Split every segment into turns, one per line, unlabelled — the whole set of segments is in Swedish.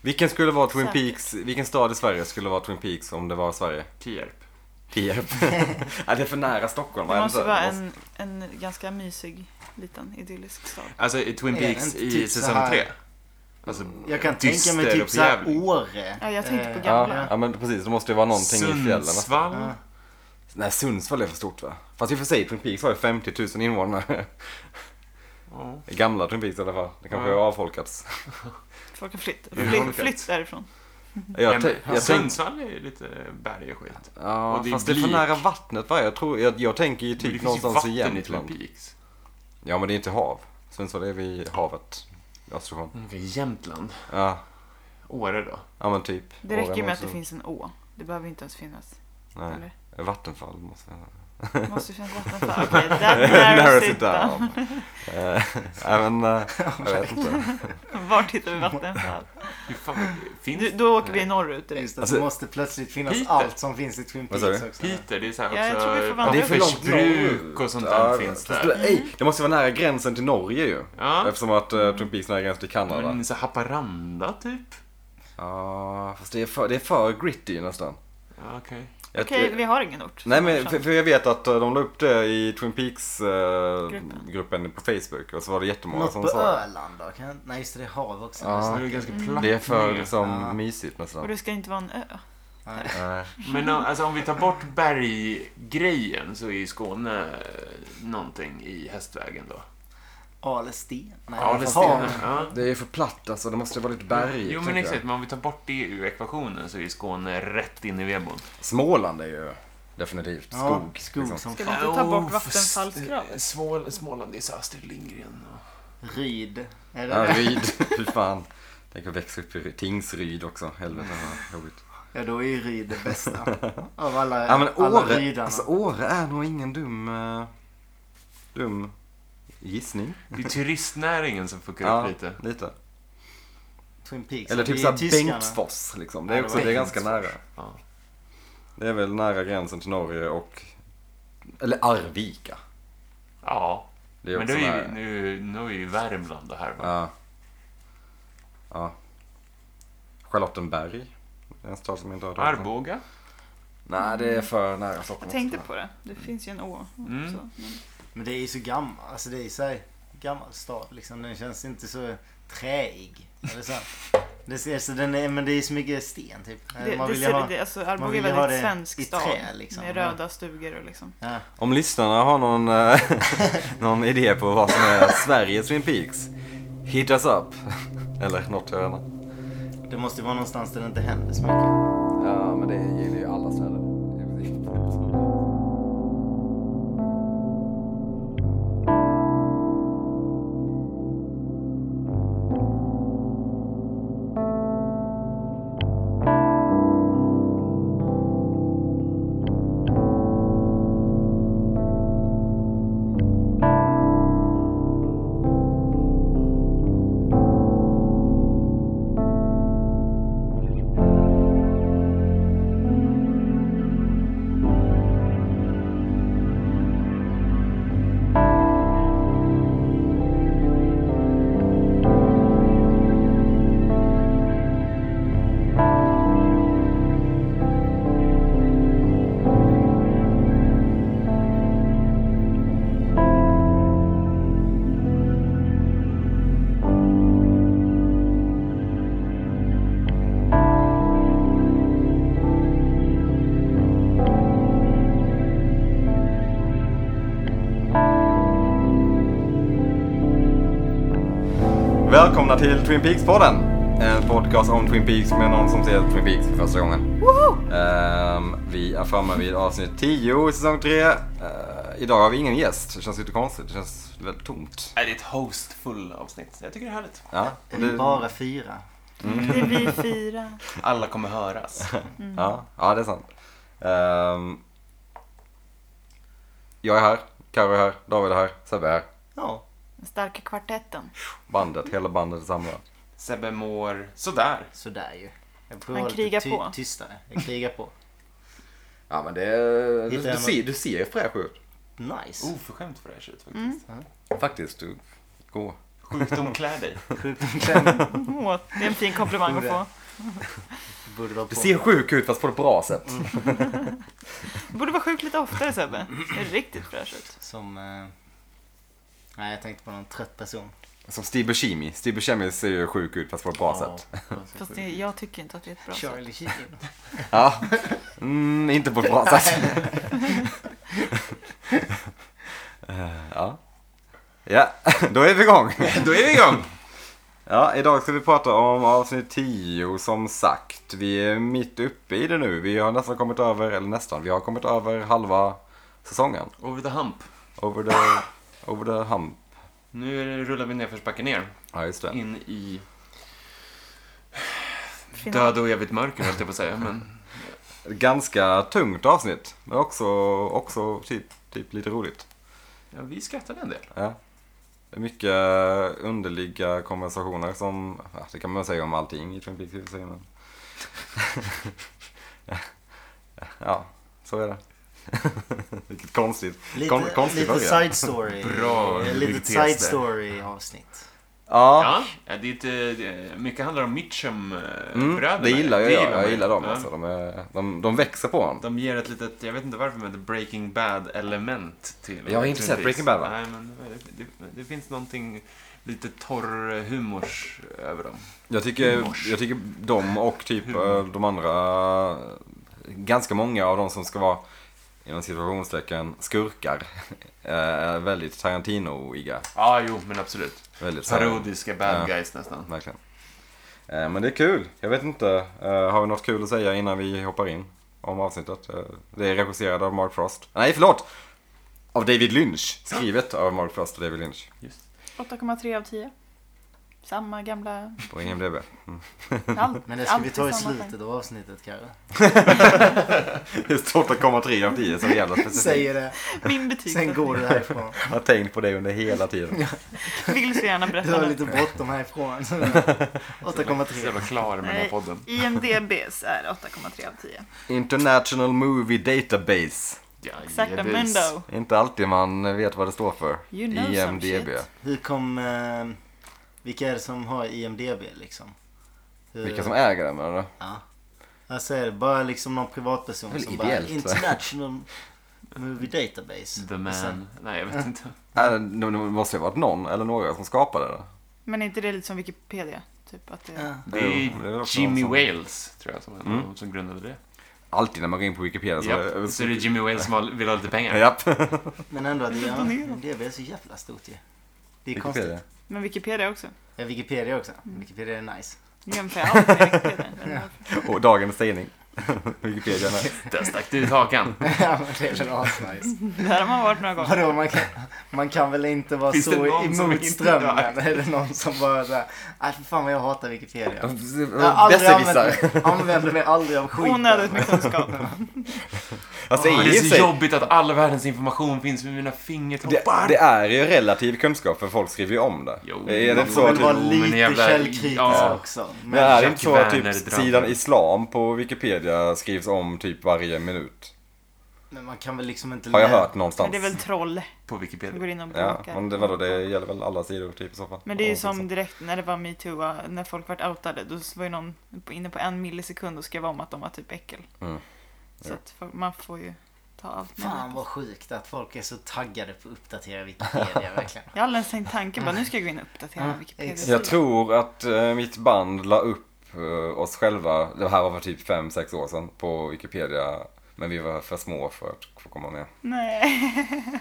Vilken skulle vara Twin
Säkert.
Peaks, vilken stad i Sverige skulle vara Twin Peaks om det var Sverige?
Tierp.
Tierp. ja, det är för nära Stockholm. va?
Det måste
Eller så-
vara
det måste-
en, en ganska mysig liten idyllisk stad.
Alltså i Twin
Är det
Peaks
inte
i
typ så
säsong
här-
tre. Alltså,
Jag kan tänka mig typ
så
såhär Åre.
Ja, jag tänkte på
Eh,
gamla.
Ja, ja, men precis. Det måste ju vara någonting i fjällen. va?
Sundsvall.
Ja.
Nej, Sundsvall är för stort va? Fast i och för sig, Twin Peaks har ju 50 000 invånare.
Ja.
Gamla Twin Peaks i alla fall. Det kanske
Ja.
har avfolkats.
Folk har flytt,
Det är
flytt,
vanligt.
flytt därifrån.
Jag,
Men
tän- jag Typ tänkte...
Sundsvall är ju lite berg och skit.
Ja,
och det är
fast det är för
bleak.
nära vattnet va? Jag, tror, jag, jag tänker ju
Men det
typ
finns ju
någonstans i
vatten i Twin
Jämtland.
Peaks.
Ja, men det är inte hav. Sundsvall är vid havet. Östersjön.
Mm, Okej, Jämtland.
Ja,
Åre då.
ja men typ.
Det räcker ju med att det
Åre,
finns en å. Det behöver inte ens finnas.
Nej.
Eller?
Vattenfall måste jag
Det måste ju finnas vattenfall. Okej, där narrows it down.
Eh, Nej men, eh, jag vet inte.
Var hittar vi vattenfall?
Hur fan, finns
Du,
det?
då åker vi norrut direkt.
Just att
Alltså-
det måste plötsligt finnas
Peter.
allt som finns i Twin
Vad sa
Peaks
du?
också.
Peter, det är så här
Ja, jag tror vi får
också
vandra. Det är
för långt
pappersbruk och sånt där finns
fast
där.
Det, ej, det måste vara nära gränsen till Norge ju.
Ja.
Eftersom att uh, Twin Peaks är nära gränsen till Kanada. Ja,
Men så Haparanda typ?
fast det är, för, det är för gritty nästan.
Ja, okej.
Jag-
Okej, vi har ingen ort.
Nej men för, för jag vet att eh, de la upp det i Twin Peaks eh,
Gruppen.
gruppen på Facebook och så var det jättemånga
Något
som
på
sa
Öland då? Kan... Nej just det, det är hav också.
Ja.
Så
Ja.
det är ganska platt
det är för
ner.
liksom
Ja.
mysigt nästan. Eh,
Och det ska inte vara en ö.
Nej.
Men om- alltså, om vi tar bort berggrejen så är ju Skåne eh, någonting i hästvägen då.
Alesten? Nej,
Alestena.
hav.
Ja.
Det är för platt alltså, det måste vara lite berg.
Jo men
tänker jag.
exakt, men om vi tar bort det ur ekvationen så är ju Skåne rätt in i vebon.
Småland är ju definitivt
Ja,
skog.
skog
liksom.
som
Ska vi
fan.
inte ta
Oh,
bort
fast- eh,
vattenfallskravet?
Smål, Småland är så Astrid Lindgren och...
Ryd. Är det
Ja,
det?
Ryd. Fy fan. Tänk att växa upp i Ryd. Tingsryd också. Helvete vad jobbigt.
Ja, då är ju Ryd det bästa. Av alla,
Ja men
alla
Åre.
rydarna.
Alltså Åre är nog ingen dum... eh, dum gissning.
Det är turistnäringen som fuckar upp lite.
lite.
Twin Peaks.
Eller typ
Liksom,
såhär
Det är tyskarna.
Bengtsfors liksom. Det
Ja,
är
det
också,
var
det är ganska
Bengtsfors.
nära.
Ja.
Det är väl nära gränsen till Norge och... Eller Arvika.
ja.
Det är
men
också
då är ju,
nära.
nu, nu är ju Värmland det här va?
Ja. Ja. Charlottenberg. Det är en stad som jag inte har hört om.
Arboga?
Nej, det är för nära Stockholm.
Jag tänkte på det. Det finns ju en å.
Mm.
Så, men-
Men det är ju så gammal. Alltså det är ju såhär gammal stad liksom. Den känns inte så träig. Eller så. Det är, så den är, men det är så mycket sten typ.
Det,
Man
det
vill ju
ser,
ha...
det, alltså, Arboga är
vill ju ha
väldigt
det
svensk
i
stad.
trä, liksom.
Med
Ja.
röda stugor och liksom.
Ja.
Om lyssnarna har någon, eh, någon idé på vad som är Sveriges Twin Peaks, hit us up. Eller något, jag vet inte.
Det måste ju vara någonstans där det inte händer så mycket.
Ja, men det gäller ju alla städer. Välkomna till Twin Peaks-podden. En podcast om Twin Peaks med någon som ser Twin Peaks för första gången. Ehm, vi är framme vid avsnitt 10 i säsong 3. idag har vi ingen gäst. Det känns lite konstigt. Det känns väldigt tomt.
Nej, det är ett hostfull avsnitt. Jag tycker det är härligt.
Ja,
Det
och
är
det-
bara fyra. Mm.
Det är vi fyra.
Alla kommer höras.
Ja, ja det är sant. Ehm, jag är här, Karo är här, David är här, Sebbe är här.
Ja.
Den starka kvartetten.
Bandet, hela bandet är samlat.
Sebbe mår sådär.
Sådär ju. Jag
Han
provar lite
krigar
ty-
på.
tystare. Jag krigar på.
Ja men det är... Du,
Hittar
du,
jag
ser, du ser fräsch ut.
Nice.
Oh,
Oförskämt fräsch ut faktiskt.
Faktiskt, du... Gå.
Sjukdom klär dig.
Sjukdom klänning.
Åh, det är en fin komplimang att få.
Borde vara på.
Du ser sjuk ut fast på ett bra sätt.
Du borde vara sjuk lite oftare Sebbe. Det är riktigt fräsch ut.
Som... Eh... Nej, jag tänkte på någon trött person.
Som Steve Buscemi. Steve Buscemi ser ju sjuk ut fast på ett bra sätt.
Fast det, jag tycker inte att det är ett bra sätt.
Charlie Sheen.
Ja. Mm, inte på ett bra sätt. Eh, ja. Ja, då är vi igång.
Då är vi igång!
Ja, idag ska vi prata om avsnitt 10 som sagt. Vi är mitt uppe i det nu. Vi har nästan kommit över, eller nästan, vi har kommit över halva säsongen.
Over the hump.
Over the, over the hump.
Nu är det- rullar vi nerförsbacke ner.
Ja, just det.
In i
Fin-
död och evigt mörker höll jag på att säga. Men
Ganska tungt avsnitt, men också, också typ, typ lite roligt.
ja, vi skrattade en del.
Ja. Det är Mycket eh, underliga konversationer som, ja, det kan man väl säga om allting i Twin Peaks i och för sig, men... Ja, så är det. Vilket konstigt. Kon-
Lite,
konstig
lite
början.
side story.
Bra
Eh,
hypotes
Litet
där.
side story avsnitt.
Ja,
Ja, det är inte, det, mycket handlar om eh,
mm,
Mitchum-bröderna.
det gillar jag. Jag,
man
jag
ju.
gillar dem
Ja.
alltså. De, är, de, de växer på en.
De ger ett litet, jag vet inte varför, men ett Breaking Bad-element till
Jag har inte
Twin
sett
Peaks.
Breaking Bad, va?
Nej, men det, det, det finns någonting lite torr humors över dem.
Jag tycker,
Humors.
jag tycker de och typ
Humor.
eh, de andra, eh, ganska många av de som ska vara inom situationstecken skurkar, eh, är väldigt Tarantino-iga.
Ja, jo, men absolut.
Väldigt så här-
Parodiska bad
Ja.
guys nästan.
Verkligen. Eh, Men det är kul. Jag vet inte, eh, har vi något kul att säga innan vi hoppar in om avsnittet? Eh, Det är regisserat av Mark Frost. Nej, förlåt! Av David Lynch. Skrivet av Mark Frost och David Lynch
Just.
8,3 av 10. Samma gamla...
på IMDB.
Allt,
Men det ska vi
allt
ta i
samma poäng.
slutet av avsnittet kanske.
Just 8,3 av 10, så jävla specifikt.
Säger det.
Min betyg.
Sen går du härifrån.
Jag har tänkt på det under hela tiden.
Vill så gärna
Du
berätta
har
nu.
lite bråttom härifrån.
Jag är så
8,3.
jävla klar med den här
Nej.
podden.
IMDBs är 8,3 av 10.
International Movie Database.
Ja,
Sacramento.
Inte alltid man vet vad det står för.
You know some
IMDB.
shit.
Hur kom... Eh, vilka är det som har IMDB liksom? Hur,
Vilka som äger den eller?
Ja. Alltså är det bara liksom någon privatperson
Väl
som
ideellt, va?
bara International Movie Database.
The
Och sen-
man. Nej, jag vet inte.
Äh, det- Det måste ju ha varit någon eller några som skapade det.
Men är inte det lite som Wikipedia? Typ att det...
Ja.
Det
Jo, det är
är
också
Jimmy
någon som-
Wales, tror jag, som, som grundade det.
Alltid när man går in på Wikipedia så...
Japp, så är det Jimmy Wales som har- vill ha lite pengar.
Japp.
Men ändå att ja,
ner
IMDB är så jävla stort ju. Det är
Wikipedia.
konstigt.
Men Wikipedia också.
Ja, Wikipedia också.
Mm.
Wikipedia är nice.
Jämför allt med Wikipedia. Det är därför.
Och dagens tidning. Wikipedia. nej.
Där stack du ut hakan.
ja, men det är väl asnice.
Där har man varit några gånger.
Vadå, man kan, man kan väl inte vara
Finns det
så
någon som
emot
inte
strömmen?
dör?
Är det någon som bara såhär, nej för fan vad jag hatar Wikipedia. Jag har aldrig
Besserwissrar.
använt- Använder mig aldrig av skiten.
Onödigt med kunskap.
Alltså, i och
Det är
för
så
sig,
jobbigt att all världens information finns med mina
det,
fingertoppar.
det är ju relativ kunskap för folk skriver ju om det.
Jo,
är det
Man
inte så
får
typ-
väl
att...
vara
Jo, men
lite
jävla-
källkritisk
ja.
också.
Men är det
Jack
inte så att
Werner
typ
drabbar.
sidan islam på Wikipedia skrivs om typ varje minut?
Men man kan väl liksom inte...
Har jag
lä-
hört någonstans.
Men det är väl troll.
På
Man
Wikipedia.
går in och
Ja,
bråkar.
men det, vadå, det gäller väl alla sidor typ i så fall.
Men det är
Ja,
ju
så.
som direkt när det var metoo, va, när folk vart outade, då var ju någon inne på en millisekund och skrev om att de var typ äckel.
Mm.
Så att folk- man får ju ta allt med
Fan
det.
vad sjukt att folk är så taggade på att uppdatera Wikipedia verkligen.
Jag har aldrig ens tänkt tanken, bara nu ska jag gå in och uppdatera
Mm,
Wikipedia.
exakt.
Jag tror att eh, mitt band la upp eh, oss själva, det här var för typ 5-6 år sedan, på Wikipedia. Men vi var för små för att få komma med.
Nej.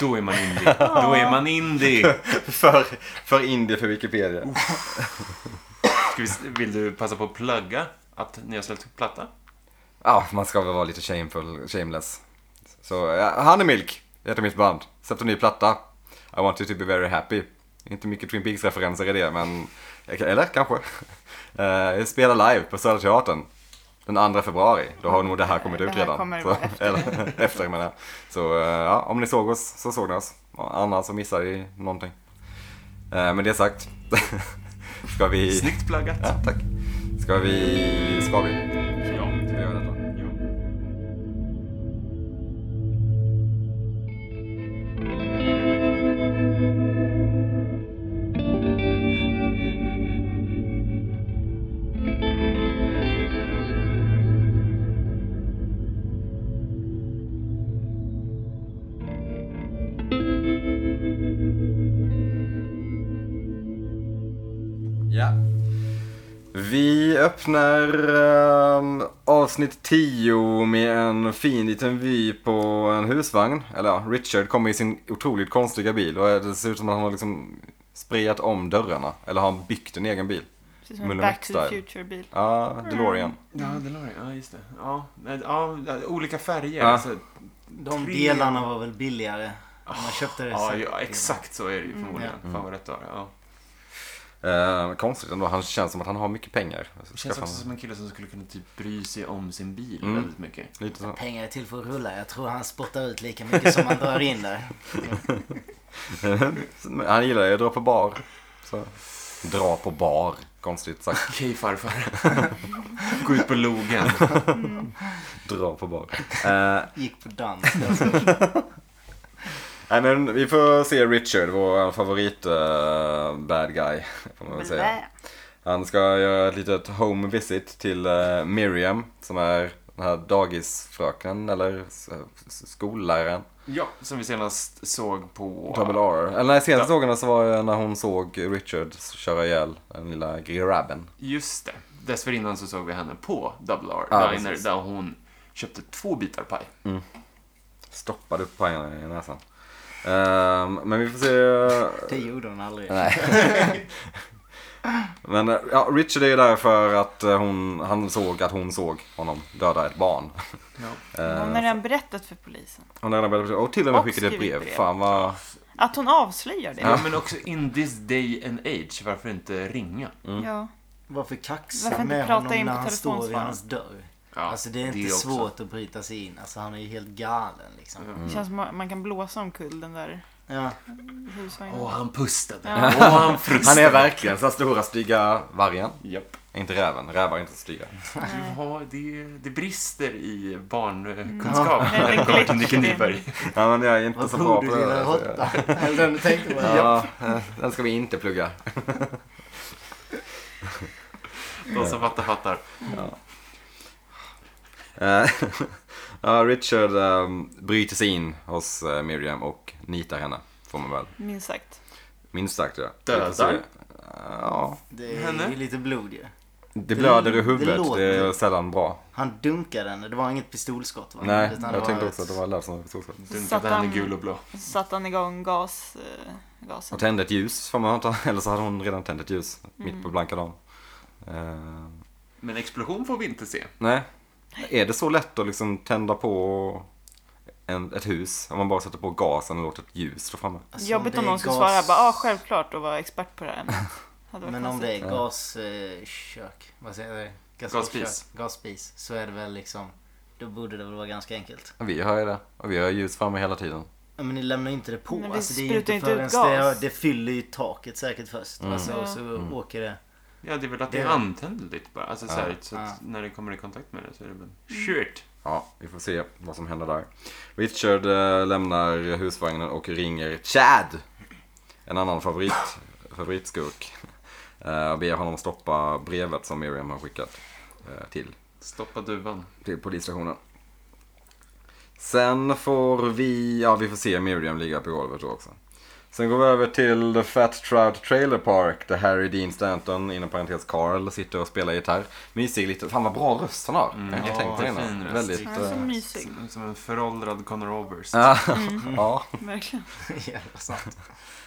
Då är man indie. Då är man indie.
för, för indie för Wikipedia.
Ska vi, vill du passa på att plugga att ni har släppt platta?
Ja, man ska väl vara lite shameful, shameless. Så, ja, Honeymilk heter mitt band. Släppte en ny platta. I want you to be very happy. Inte mycket Twin Peaks-referenser i det, men... Eller kanske. Uh, spelar live på Södra Teatern. Den 2 februari. Då har nog det här kommit
Det
ut
här
redan.
kommer
så,
vara efter.
Eller efter menar jag. Så eh, ja, om ni såg oss så såg ni oss. Annars så missade ni någonting. Eh, men det sagt. ska vi...
Snyggt pluggat.
Ja, tack. Ska vi... Ska vi?
Ja.
Ska vi göra detta?
ja.
Ja. Vi öppnar ehm, avsnitt 10 med en fin liten vy på en husvagn. Eller ja, Richard kommer i sin otroligt konstiga bil och det ser ut som att han har liksom sprejat om dörrarna. Eller har han byggt en egen bil?
Precis som en
Mulle
Back to the
Mc-style.
Future-bil.
Ja, DeLorean.
Ja, det la jag. Ja, just det. Ja, nej, ja, olika färger.
Ja.
Alltså,
De
Tre-
delarna var väl billigare. Om man köpte det
ja,
så-
ja, exakt så är det ju förmodligen.
Mm.
Fan vad rätt du har. Ja.
Eh, konstigt ändå, han känns som att han har mycket pengar.
Det känns
Skaffar
också
han-
som en kille som skulle kunna typ bry sig om sin bil
Mm.
väldigt mycket.
Lite så.
Pengar är till för att rulla. Jag tror han spottar ut lika mycket som han drar in där.
han gillar ju att dra på bar. Så. Dra på bar, konstigt sagt.
Okej farfar. Gå ut på logen.
Dra på bar. Eh,
Gick på dans.
Nej men vi får se Richard, vår favorit eh, bad guy. Får man väl säga. Han ska göra ett litet home visit till eh, Miriam som är den här dagisfröken eller s- s- skolläraren.
Ja, som vi senast såg på...
Double R. Eller nej, senaste
Ja.
sågen så var det när hon såg Richard köra ihjäl den lilla grabben.
Just det. Dessförinnan så såg vi henne på Double R
Ja,
Diner
precis.
där hon köpte två bitar paj.
Stoppade upp pajen i näsan. Ehm, men vi får se eh,
Det gjorde hon aldrig.
Nej. Men eh, ja, Richard är ju där för att eh, hon, han såg att hon såg honom döda ett barn. Eh,
Hon har
alltså-
redan berättat för polisen.
Hon har redan börjat- och till och med
Och
skickat ett
skrivit
brev.
brev.
Fan vad...
Att hon avslöjar det.
Ja, men också in this day and age, varför inte ringa?
Mm.
Ja.
Varför kaxa
Varför inte
med
prata
honom
in på
när han står vid
telefonsvararen?
hans dörr?
Ja,
alltså det är inte
också.
svårt att bryta sig in. Alltså han är ju helt galen liksom.
Mm.
Det känns som att man kan blåsa omkull den där
Ja.
husvagnen.
Åh, han pustade.
Ja.
Åh, han frustade.
Han är verkligen så här stora stygga vargen.
Japp.
Inte räven, rävar är inte så stygga.
Ja, det, det brister i barnkunskap
Ja.
när det kommer till
Glitch.
Micke Nyberg.
Ja, men jag är inte
Vad
så bra
tror
på
du
det.
lilla
där, så jag-
råtta? Eller den du tänkte på.
Ja, eh, den ska vi inte plugga.
De som fattar fattar.
Eh, ja, Richard um, bryter sig in hos eh, Miriam och nitar henne. Får man väl.
Minst sagt.
Minst sagt ja.
Dödar?
Så- Ja.
Det är
Henne?
ju lite blod ju.
Det blöder i
det
huvudet, det,
låter-
är sällan bra.
Han dunkade henne. Det var inget pistolskott va?
Nej,
Utan
jag tänkte
ett-
också att det var Lars som var pistolskott.
Dunkade han i gul och blå.
Så satte han igång gas, eh, gasen.
Och tände ett ljus får man anta, eller så hade hon redan tänt ett ljus mitt på blanka dagen. Eh,
Men explosion får vi inte se.
nej, är det så lätt att liksom tända på en, ett hus om man bara sätter på gasen och låter ett ljus stå framme?
Alltså,
Jobbigt
det
om
är
någon skulle
gas-
svara bara ah, självklart och vara expert på det här ämnet. Hade varit
Men om
konstigt.
det är gaskök, vad säger jag? Gasolkök,
Gasspis.
Gasspis. Så är det väl liksom, då borde det väl vara ganska enkelt.
Vi har ju det, och vi har ljus framme hela tiden.
Ja, Men ni lämnar ju inte det på.
Men det
alltså, det är ju
sprutar
inte
inte
förrän
ut
det,
gas. Mm.
det fyller ju taket säkert först.
Mm.
Alltså, och så åker det.
Ja, det är väl att det är
Det-
antändligt bara. Alltså, så, här, så att
Ja.
när det kommer i kontakt med det så är det väl... Shit!
Ja, vi får se vad som händer där. Richard eh, lämnar husvagnen och ringer Chad. En annan favorit, favoritskurk. Eh, och ber honom stoppa brevet som Miriam har skickat eh, till,
Stoppa duvan.
till polisstationen. Sen får vi, ja vi får se Miriam ligga på golvet då också. Sen går vi över till The Fat Trout Trailer Park där Harry Dean Stanton, inom parentes Carl, sitter och spelar gitarr. Mysig lite, fan vad bra röst han har.
Mm,
jag har inte
ja,
tänkt på det
fin
innan.
röst.
Väldigt,
Han är så
eh,
mysig.
Som, som en föråldrad Conor Roberts.
Ja, ja.
Verkligen.
Jävla sant.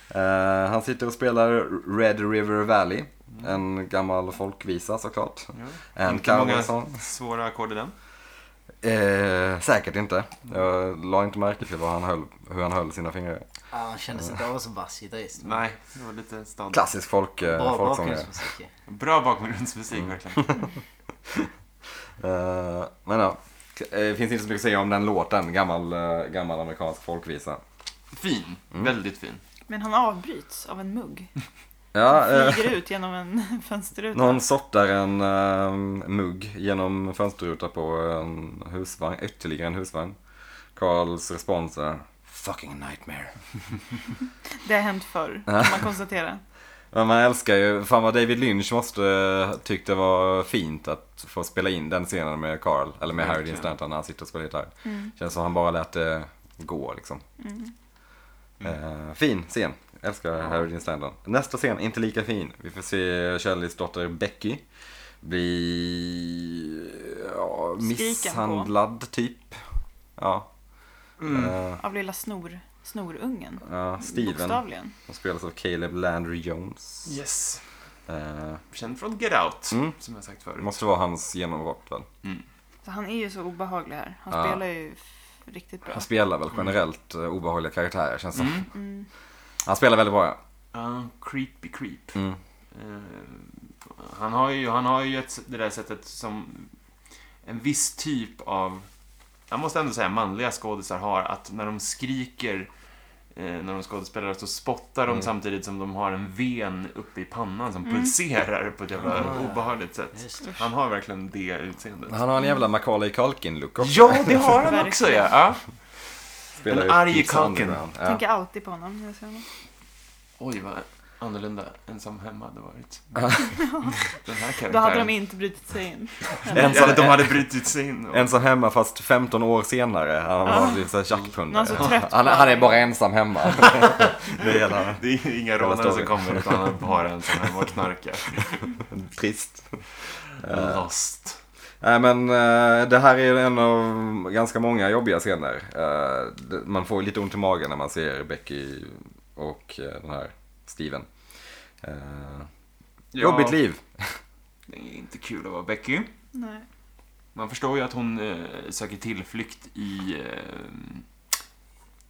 Eh, han sitter och spelar Red River Valley. En gammal folkvisa såklart.
Ja.
En
Inte många
cowboysång.
svåra ackord i den.
Eh, säkert inte. Jag la inte märke till vad han höll, hur han höll sina fingrar.
Ja, han kändes inte av som bassgitarrist. men
Nej, det var lite stadigt.
Klassisk folk, eh,
Bra
folksångare.
bakgrundsmusik ju.
Bra bakgrundsmusik verkligen.
Eh, men ja, K- eh, det finns inte så mycket att säga om den låten. Gammal, eh, gammal amerikansk folkvisa.
Fin.
Mm.
Väldigt fin.
Men han avbryts av en mugg.
Ja, eh,
Flyger ut genom en fönsterruta.
någon sortar en eh, mugg genom en fönsterruta på en husvagn, ytterligare en husvagn. Karls respons är Fucking nightmare.
Det har hänt förr, kan man konstatera.
Men man älskar ju, fan vad David Lynch måste eh, tyckt det var fint att få spela in den scenen med Carl, eller med Harry Dean
Verkligen.
Stanton när han sitter och spelar gitarr.
Mm.
Känns som han bara lät det gå liksom. Eh, fin scen, älskar Harry Dean Stanton. Nästa scen, inte lika fin. Vi får se Shelleys dotter Becky bli ja,
Skriken på.
misshandlad typ. Ja. Eh,
Av lilla snor, snorungen.
ja, Steven,
Bokstavligen.
som spelas av Caleb Landry Jones.
Yes.
Eh,
Känd från Get Out,
Mm.
som jag sagt
Det
förut. Mm.
måste vara hans genombrott väl?
Så han är ju så obehaglig här. Han
Ja.
spelar ju f- riktigt bra.
Han spelar väl generellt eh, obehagliga karaktärer känns som.
Mm.
Mm.
Han spelar väldigt bra ja.
Ja, creepy creep.
Mm.
Eh, han, har ju, han har ju ett, det där sättet som en viss typ av, jag måste ändå säga manliga skådisar har, att när de skriker eh, när de skådespelar så spottar de
Mm.
samtidigt som de har en ven uppe i pannan som
Mm.
pulserar på ett jävla
Ah.
obehagligt sätt.
Just det.
Han har verkligen det utseendet.
Han har en jävla Macaulay Culkin-look också.
Ja, det har han också ja! ja.
Spelar
en
ju
arg
Thieves
Culkin.
Underground. Ja.
Tänker alltid på honom när jag ser honom.
Oj, vad annorlunda ensam hemma hade varit.
Ja.
Den här karaktären.
Då hade de inte brutit sig in.
Ensam-
Ja, de hade brutit sig in. och-
Ensam hemma fast 15 år senare. Han
Ja.
har blivit såhär
Någon så
tjackpundare.
trött
Han,
på
han är
honom.
bara ensam hemma. det är hela
Det är inga
Hela
rånare som
storyn.
kommer utan han bara en sån här och knarkar.
trist.
Lost.
Nej men eh, det här är en av ganska många jobbiga scener. Eh, det- man får lite ont i magen när man ser Becky och eh, den här Steven. Eh, Jobbigt liv.
Det är inte kul att vara Becky.
Nej.
Man förstår ju att hon eh, söker tillflykt i eh,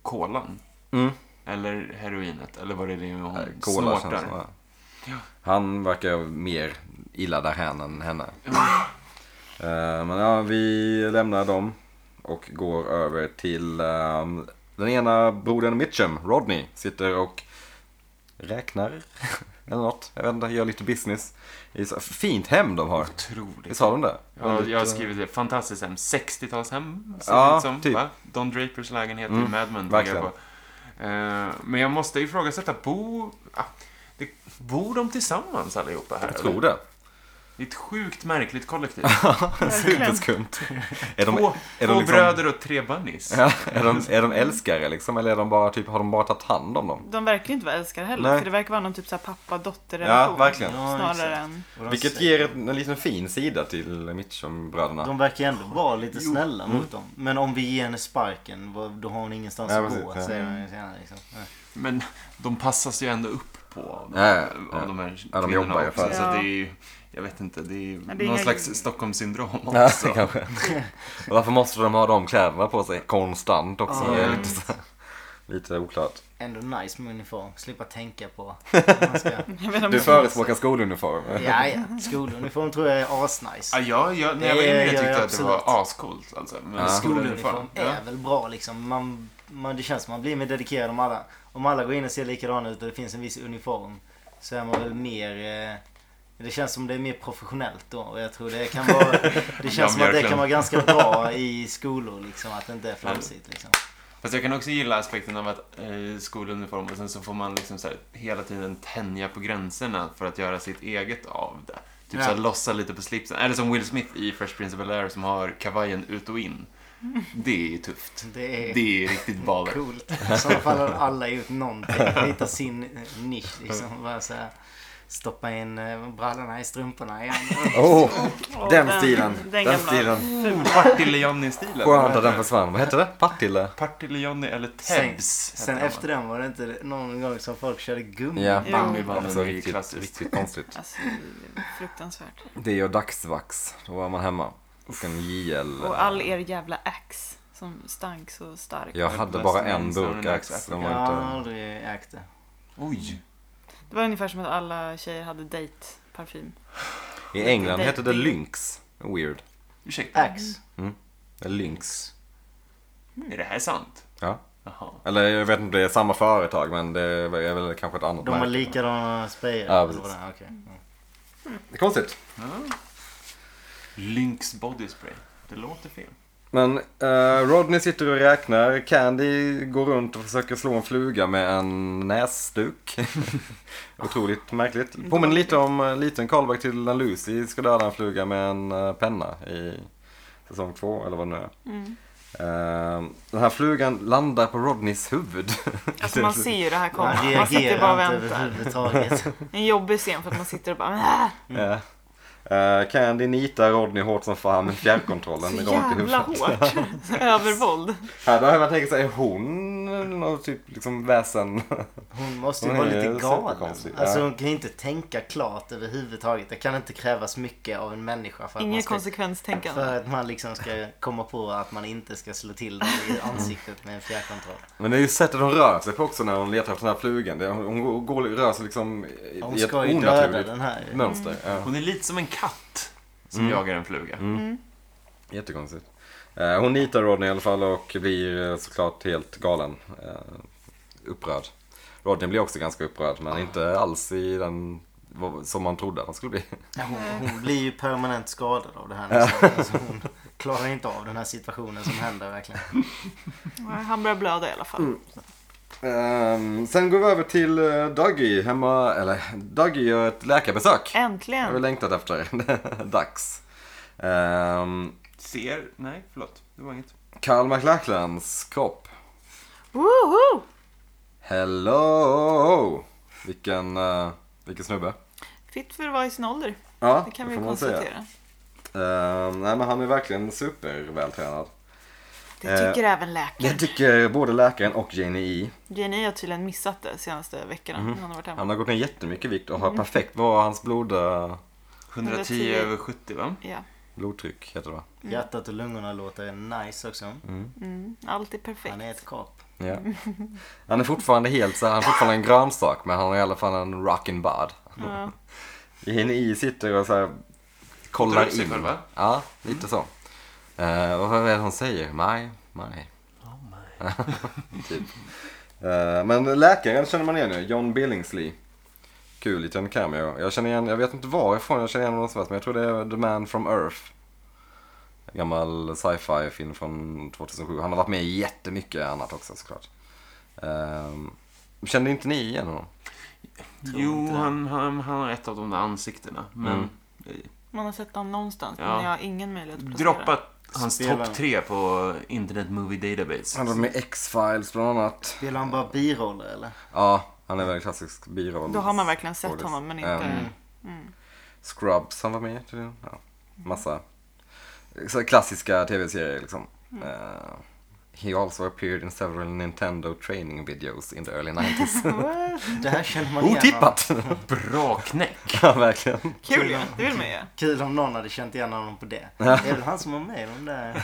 kolan.
Mm.
Eller heroinet, eller vad det är det hon
Nej, Cola känns som,
Mm, snortar.
ja.
Ja.
Han verkar mer illa därhän än henne.
Ja.
Eh, Men ja, vi lämnar dem och går över till ehm, den ena brodern Mitchum, Rodney, sitter och räknar eller något. Jag vet inte, gör lite business. Det är så Fint hem de har. Visst
Otroligt.
har de det?
Ja,
Väldigt,
jag har
eh,
skrivit det. Fantastiskt hem. 60-talshem, ser
Ja,
det ut som.
typ.
Va? Don Drapers lägenhet i
Mm,
Mad Men. tänker
verkligen.
jag på. Eh, Men jag måste ifrågasätta, bo... ah, det- Bor de tillsammans allihopa här?
Jag
eller?
tror det.
Det är ett sjukt märkligt kollektiv.
Verkligen.
Superskumt. Är de,
två
är de
två
liksom-
bröder och tre bunnies.
ja, är, de, är de älskare liksom? Eller är de bara, typ, har de bara tagit hand om dem?
De verkar ju inte vara älskare heller.
Nej.
För det verkar vara någon typ såhär pappa-dotter-relation.
Ja, verkligen.
Ja,
Snarare
exakt.
än...
Och de
Vilket
säger-
ger en, en liten fin sida till Mitchum-bröderna.
De verkar ändå vara lite snälla
Mm.
mot dem. Men om vi ger henne sparken, vad- då har hon ingenstans
Ja,
att
precis,
gå.
ja.
Säger hon ju senare, liksom. Ja.
Men de passas ju ändå upp på av,
Ja, ja, ja.
av de här
Ja, de
kvinnorna
jobbar ju
också.
för-
Så
Ja.
det är ju, jag vet inte, det är ju
Men det är
någon
inga-
slags Stockholmssyndrom
Ja,
också.
kanske. Och varför måste de ha de kläderna på sig konstant också?
Ja.
Det är lite, så, lite oklart.
Ändå nice med uniform. Slippa tänka på... vad man ska-
Jag vet inte om
Du
jag-
förespråkar skoluniform?
Ja, ja. Skoluniform tror jag är
Ja,
asnice.
jag, jag, när jag var
Det
yngre
gör
tyckte
jag
jag att det
absolut.
var ascoolt alltså. Men
Ja.
Skoluniform
skoluniform. Ja.
är väl bra liksom. Man, man, det känns som man blir mer dedikerad om alla. Om alla går in och ser likadana ut och det finns en viss uniform så är man väl mer... Eh, det känns som det är mer professionellt då och jag tror det kan vara... Det
Ja,
känns som att det
verkligen.
kan vara ganska bra i skolor liksom. Att det inte är flamsigt liksom.
Fast jag kan också gilla aspekten av att eh, skoluniform och sen så får man liksom så här, hela tiden tänja på gränserna för att göra sitt eget av det. Typ
Ja.
så här, lossa lite på slipsen. Eller som Will Smith i Fresh Prince of Bel-Air som har kavajen ut och in. Det är ju tufft.
Mm. Det är...
Det är ju riktigt baller.
Coolt. I sådana fall har alla gjort någonting. Hittat sin eh, nisch liksom. Bara så här, stoppa in eh, brallorna i strumporna igen.
Åh,
Åh,
Oh, den stilen! Den,
Den gamla.
stilen!
Partille-Johnny-stilen.
Skönt att den försvann. Vad hette det? Partille?
Partille-Johnny eller
Sen,
Tebs.
sen efter den var det inte någon gång som folk körde gummi.
Ja,
Jo.
Bambi-banden
alltså,
är ju
riktigt,
klassiskt.
riktigt konstigt.
Alltså, det är fruktansvärt.
Det och dagsvax, då var man hemma. Och en JL.
Och all er jävla ax som stank så starkt.
Jag hade bara en burk ax. De
Jag
var
har
inte...
aldrig ägt det.
Mm.
Oj.
Det var ungefär som att alla tjejer hade date-parfym.
I England hette det Lynx. Weird.
Ursäkta.
Ax.
Lynx.
Äh.
Är det här sant?
Ja.
Jaha.
Eller jag vet inte om det är samma företag men det är väl kanske ett annat
De har
märke.
likadana sprayer.
Ja, precis.
Eller okej. Mm.
Konstigt.
Ja. Lynx Body Spray. Det låter fel.
Men eh, Rodney sitter och räknar. Candy går runt och försöker slå en fluga med en näsduk. Otroligt märkligt. Påminner lite om en liten callback till när Lucy ska döda en fluga med en eh, penna i säsong två eller vad det nu är.
Mm.
Eh, den här flugan landar på Rodneys huvud.
Alltså man ser ju det här komma.
Man
Man sitter bara och
reagerar inte
väntar.
överhuvudtaget.
En jobbig scen för att man sitter och bara "Äh,
Ja. Eh, Candy nitar Rodney hårt som fan med fjärrkontrollen
Så
rakt i
jävla
huvudet.
hårt. Övervåld.
Här behöver man tänka sig, är hon någon typ liksom väsen?
Hon måste ju
Hon
vara
är
lite galen.
superkonstig, ja.
Alltså hon kan ju inte tänka klart överhuvudtaget. Det kan inte krävas mycket av en människa för att, man
Inget
ska,
konsekvenstänkande.
för att man liksom ska komma på att man inte ska slå till någon i ansiktet med en fjärrkontroll.
Men det är ju sättet hon rör sig på också när hon letar efter den här flugan. Det- Hon hon går, rör sig liksom i
Hon
i ett
ska ju döda
onaturligt
den här. Mm.
mönster. Ja.
Hon är lite som en katt som
Mm.
jagar en fluga.
Jättekonstigt. Eh, Hon nitar Rodney i alla fall och blir eh, såklart helt galen. eh, Upprörd. Rodney blir också ganska upprörd
Ah.
men inte alls i den vad- som man trodde att han skulle bli.
Hon, hon blir ju permanent skadad av det här. nästan. Alltså, hon klarar inte av den här situationen som händer verkligen.
Han börjar blöda i alla fall.
Mm.
Ehm, sen går vi över till eh, Dougie hemma, eller Dougie gör ett läkarbesök. Jag har vi
Äntligen!
längtat efter. Dags. Um,
Ser... Nej, förlåt. Det var inget.
Carl McLachlans kropp.
Woho!
Hello! Vilken, eh, vilken snubbe.
Fit för att vara i sin ålder.
Ja,
Det kan vi
får
ju
man säga.
konstatera.
Ehm, nej men han är verkligen supervältränad.
Det tycker
Eh.
även läkaren.
Det tycker både läkaren och Janie E.
Jenny har tydligen missat det senaste veckorna.
Mhm.
när Hon har varit hemma.
Han har gått ner jättemycket vikt
Mm.
och har perfekt, vad var hans blod, eh,
110,
110.
över 70, va?
Ja.
blodtryck heter det va?
Hjärtat och lungorna låter nice också.
Mm. Allt är perfekt.
Han är ett kap.
Ja. Han är fortfarande helt så här, han är fortfarande en grönsak men han har i alla fall en rockin' bud.
Ja.
Jane E sitter och så här kollar
Drar upp sig
in.
själv, va?
Ja, lite så. Eh, och vad är det hon säger? My, my. typ. Eh, men läkaren känner man igen nu, John Billingsley. Kul liten cameo. Jag känner igen, jag vet inte varifrån jag känner igen honom någonstans men jag tror det är The Man from Earth. En gammal sci-fi film från 2007. Han har varit med i jättemycket annat också såklart. Ehm, kände inte ni igen honom?
Tror
Jo,
inte det.
han, han, han har ett av de där ansiktena. Men
Mm.
Man har sett honom någonstans
Ja.
men jag har ingen möjlighet att placera.
droppat hans
Spela.
topp tre på Internet Movie Database.
Han var med i X-Files bland annat.
Spelar han bara biroller eller?
Ja, han är väl en klassisk biroll.
Då har man verkligen sett
skådis.
honom men inte...
Mm.
Mm.
Scrubs han var med i, tydligen. ja. Massa så klassiska tv-serier liksom.
Mm.
Eh, he also appeared in several Nintendo training videos in the early 90s.
Det här känner man igen.
Otippat!
Bra knäck!
ja, verkligen.
Kul ju, det vill man ju.
Kul om någon hade känt igen honom på det. Det är väl han som var med i de där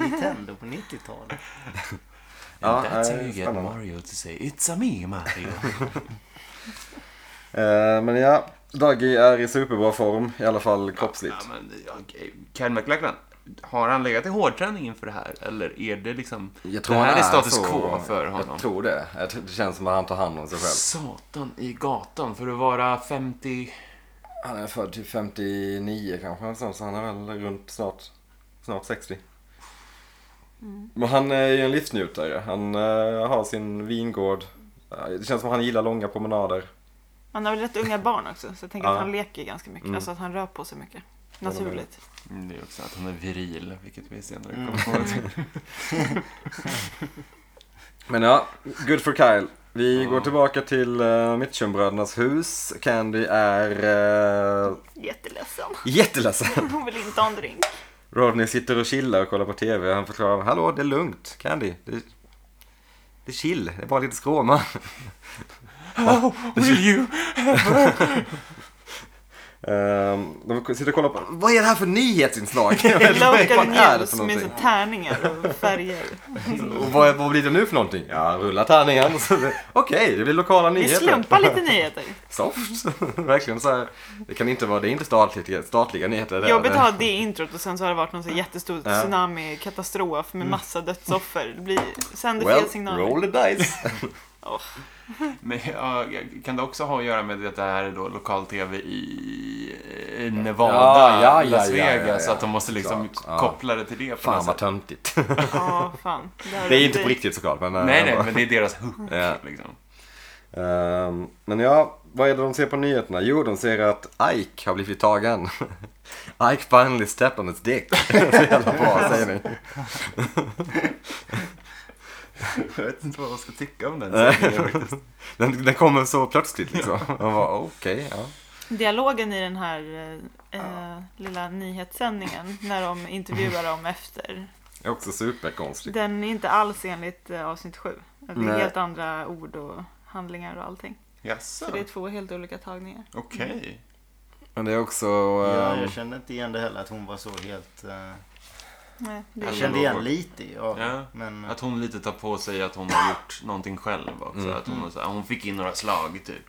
Nintendo på 90-talet.
Ja,
And That's
eh,
how you get
spännande.
Mario to say It's a me, Mario.
Eh, men ja, Dougie är i superbra form, i alla fall
ja,
kroppsligt.
men, ja, Ken McLachlan, har han legat i hårdträning inför det här? Eller är det liksom...
Jag
det här
han
är status
så-
quo för honom.
Jag tror det. Jag tror- Det känns som att han tar hand om sig själv.
Satan i gatan, för att vara 50...
Han är född till 59 kanske, eller så så han är väl runt snart, snart 60. Men han är ju en livsnjutare. Han eh, har sin vingård. Eh, Det känns som att han gillar långa promenader.
Han har väl rätt unga barn också så jag tänker
Ja. Mm.
att han leker ganska mycket. Alltså att han rör på sig mycket. Naturligt.
Mm, Det är också att han är viril, vilket vi senare
Mm.
kommer ihåg.
Men ja, good for Kyle. Vi går tillbaka till uh, Mitchumbrödernas hus. Candy är uh,
Jätteledsen.
jätteledsen.
Hon vill inte ha en drink.
Rodney sitter och chillar och kollar på TV. Han förklarar, hallå det är lugnt Candy. Det, det är chill, det är bara lite skråma.
Oh, will you?
Ehm, de sitter och kollar på, vad är det här för nyhetsinslag? Jag vet inte, vad
Local
fan är det
news
för
med så
någonting?
tärningar och färger.
Och vad, vad blir det nu för någonting? Ja, rulla tärningen. Okej, det blir lokala
Vi
nyheter.
slumpar lite nyheter.
Soft. Verkligen så här. Det kan inte vara, det är inte statliga, statliga nyheter. det är
Jobbigt
det.
att ha det introt och sen så har det varit någon så här jättestor
Ja. Mm.
tsunami-katastrof med massa dödsoffer. Det blir, sänder fel
Well,
signaler.
roll the dice.
Åh.
Men, ja, kan det också ha att göra med att det här är då lokal-tv i i Nevada,
Ja, ja, ja,
Las
ja, ja,
Vegas?
ja.
Så att de måste liksom
Klart, ja.
koppla det till det på
Fan
något
vad
sätt.
töntigt.
Ja, fan. här
Det är ju inte
vi.
på riktigt såklart. Men, eh,
Nej,
ändå.
nej, men det är deras hook
Ja.
liksom.
Ehm, men ja, vad är det de ser på nyheterna? Jo, de ser att Ike har blivit tagen. Ike finally stepped on his dick. Så jävla bra, säger ni.
Jag vet inte vad man ska tycka om den
den, den kommer så plötsligt liksom. Man bara, okej, ja.
Dialogen i den här eh, eh, lilla nyhetssändningen när de intervjuar dem efter.
Det är också superkonstigt.
Den är inte alls enligt eh, avsnitt 7. Det är
Nej.
helt andra ord och handlingar och allting.
Jaså?
Så det är två helt olika tagningar.
Okej.
Men det är också...
Ja,
ehm,
jag kände inte igen det heller att hon var så helt... eh,
Nej, det
Jag
är...
Alltså,
kände igen lite ja.
Ja.
Men eh,
Att hon lite tar på sig att hon har gjort någonting själv också.
Mm.
Att hon, har så här, hon fick in några slag typ.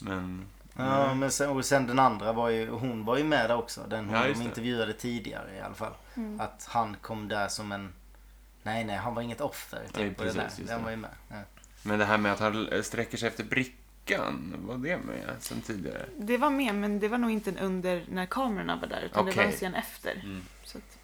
Men
Ja, men sen, och sen den andra var ju, hon var ju med där också. Den hon
Mm. Ja, just
de
det.
intervjuade tidigare i alla fall.
Mm.
Att han kom där som en... Nej, nej, han var inget offer. Typ,
Nej,
och
precis,
det
just
där. Den
det.
var ju med. Ja.
Men det här med att han sträcker sig efter brickan, var det med sen tidigare?
det var med, men det var nog inte under när kamerorna var där. Utan det var en
Okej.
scen efter.
Mm.
Så att,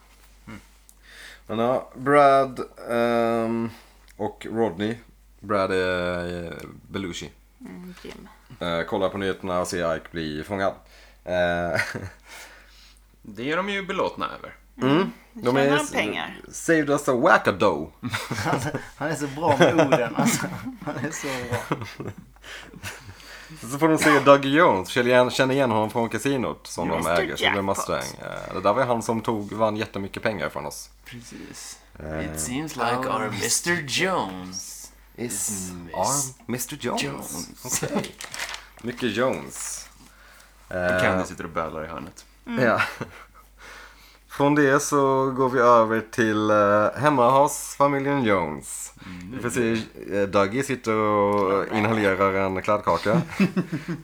Men ja, Brad ehm, och Rodney. Brad är eh, Belushi.
mm, Jim.
Eh, kollar på nyheterna och ser Ike bli fångad. Eh,
Det är de ju belåtna över.
mm. De
Tjänar
är
de pengar?
Saved us a wackadoe.
Alltså, han är så bra med orden alltså. Han är så bra.
Så får de se Doug Jones, känner igen, känner igen honom från casinot som de
Mr.
äger, som blev
Jackpot.
Mustang. Eh, Det där var han som tog, vann jättemycket pengar från oss.
Precis.
Eh,
It seems like our Mr Jones.
Is
Miss
arm Mr Jones.
Jones.
Okej. Mycket Jones.
Och
Eh,
Candy sitter och bölar i hörnet.
Ja. Från det så går vi över till eh, hemmahasfamiljen Jones. Vi får se eh, Dougie sitter och inhalerar en kladdkaka.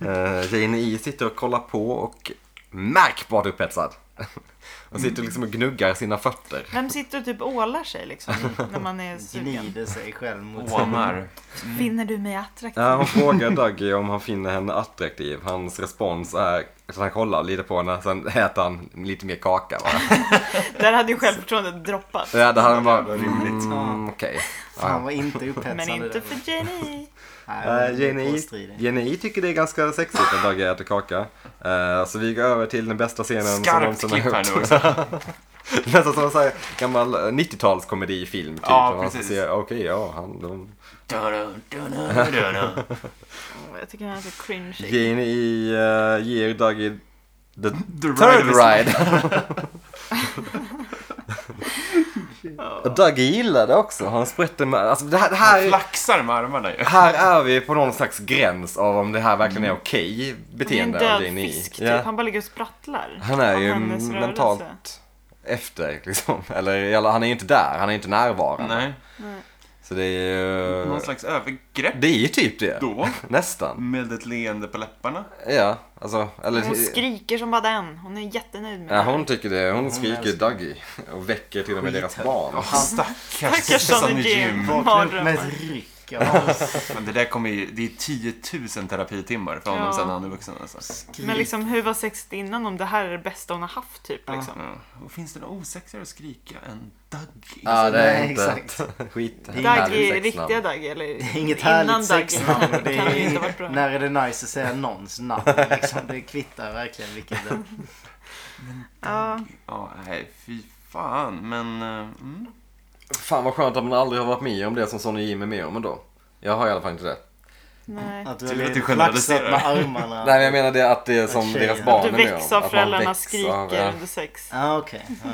eh, Jane E sitter och kollar på och märkbart upphetsad. Och sitter liksom och gnuggar sina fötter.
Vem sitter och typ ålar sig liksom när man är sugen?
Gnider sig själv mot...
Åmar.
Finner du mig attraktiv?
Ja, hon frågar Dougie om han finner henne attraktiv. Hans respons är att han kollar lite på henne, sen äter han lite mer kaka. Va?
Där hade ju självförtroendet droppat.
Ja, det här var...
rimligt.
Mm, Okej.
Han var inte upphetsande
Men inte
där.
för Jenny.
Nej, han var
Eh,
Uh, Jenny,
påstridig.
Jenny tycker det är ganska sexigt att Dagge äter kaka. Eh, så vi går över till den bästa scenen som
Skarpt
någonsin har
klipp här nu
gjorts.
också.
Nästan som en sån här gammal eh, 90-talskomedifilm. Typ,
Ja,
där man ska
precis.
se, Okej, ja, han... De...
Dun, dun, dun, dun, dun.
Åh, Mm, Jag tycker han är så cringe.
Jenny eh, ger Dagge the
The
third
is-
ride. Och Dagge gillar det också. Han sprätter med... Alltså det här... Det här
Han flaxar med armarna ju.
Här är vi på någon slags gräns av om det här verkligen är okej
Mm. Han är en
beteende av
död
Jenny.
fisk
Ja.
typ. Han bara ligger och sprattlar.
Han är
av
ju
hennes rörelse.
mentalt efter liksom. Eller, eller han är ju inte där, han är ju inte närvarande.
Nej.
Så det är ju...
Någon slags övergrepp
Det är ju typ det.
då.
Nästan.
Med ett leende på läpparna.
Ja, alltså. Eller,
Hon skriker som bara den. Hon är jättenöjd med
ja,
det.
hon tycker det. Hon skriker
älskar-
Dougie. Och väcker till och med deras barn.
Stackars
Stackars Sonny Jim.
Vaknade upp
Mardrömmar.
med ett ryck av hans
Men det där kommer ju, det är 10 000 terapitimmar för honom
Ja.
sen han är vuxen alltså.
skrik.
Men liksom hur var sexet innan om det här är det bästa hon har haft typ
Ja.
liksom.
Ja. Och finns det något osexigare att skrika än Dougie?
Ja, det är
Nej,
inte
exakt.
ett skit.
Det är
Daggy,
härligt sexnamn.
riktiga Daggy eller
Det är inget
innan
härligt
Daggy.
sexnamn. och Det
kan ju inte ha varit
är,
bra.
när är det nice att säga någons namn? Liksom, det kvittar verkligen vilket det
Ja,
Ja, nej, fy fan. Men, eh, mm.
Fan vad skönt att man aldrig har varit med om det som Sonny Jim är med om ändå. Jag har i alla fall inte det.
nej.
Att du
Till att
har
du
flaxat
generaliserar.
med armarna.
Nej men jag menar det att det är som
tjejer.
deras
Att
barn
Du
är med om.
väcks av
man
föräldrarna
väcks
skriker
av- ja.
under sex.
Ah, okej. Ja.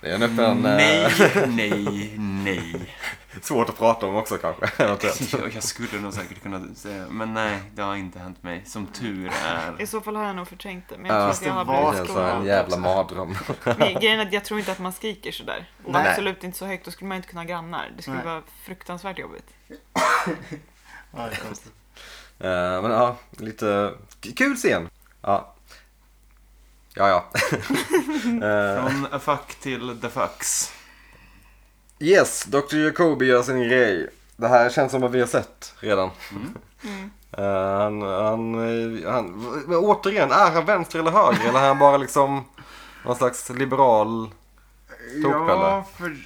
Det är en öppen...
nej,
eh,
nej, nej.
Svårt att prata om också kanske. eventuellt.
Jag, jag skulle nog säkert kunna säga, men nej, det har inte hänt mig. Som tur
I
är.
så fall har jag nog förträngt det. Men
Ja,
jag tror att jag har
det var
Det
blivit
känns som en
skolad.
jävla mardröm.
Men Grejen är att jag tror inte att man skriker sådär. Och
Nej.
absolut inte så högt. Då skulle man inte kunna ha grannar. Det skulle
Nej.
vara fruktansvärt jobbigt.
Ja, det är konstigt.
Eh, men ja, lite kul scen. Ja. Ja, ja. Eh,
Från a fuck till the fucks.
yes, Dr. Jacobi gör sin grej. Det här känns som att vi har sett redan.
Mm.
Eh, han, han, eh, han, men återigen, är han vänster eller höger? eller är han bara liksom någon slags liberal? Tokpelle.
Ja, för,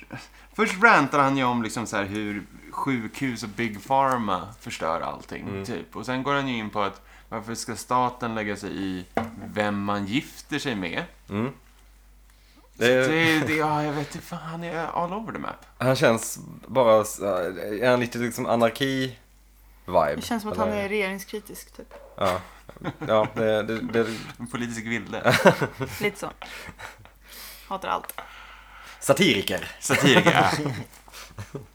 först rantade han ju om liksom så här hur sjukhus och Big Pharma förstör allting.
Mm.
Typ. Och sen går han ju in på att varför ska staten lägga sig i vem man gifter sig med?
Mm.
Så
Det är-
det, det, ja, jag vet inte, fan, han är all over the map.
Han känns bara, så- är han lite liksom anarki-vibe? typ.
Det känns som att han är regeringskritisk typ.
Ja, ja det, det, det,
En politisk vilde.
Lite så. Hatar allt.
Satiriker.
Satiriker. ja.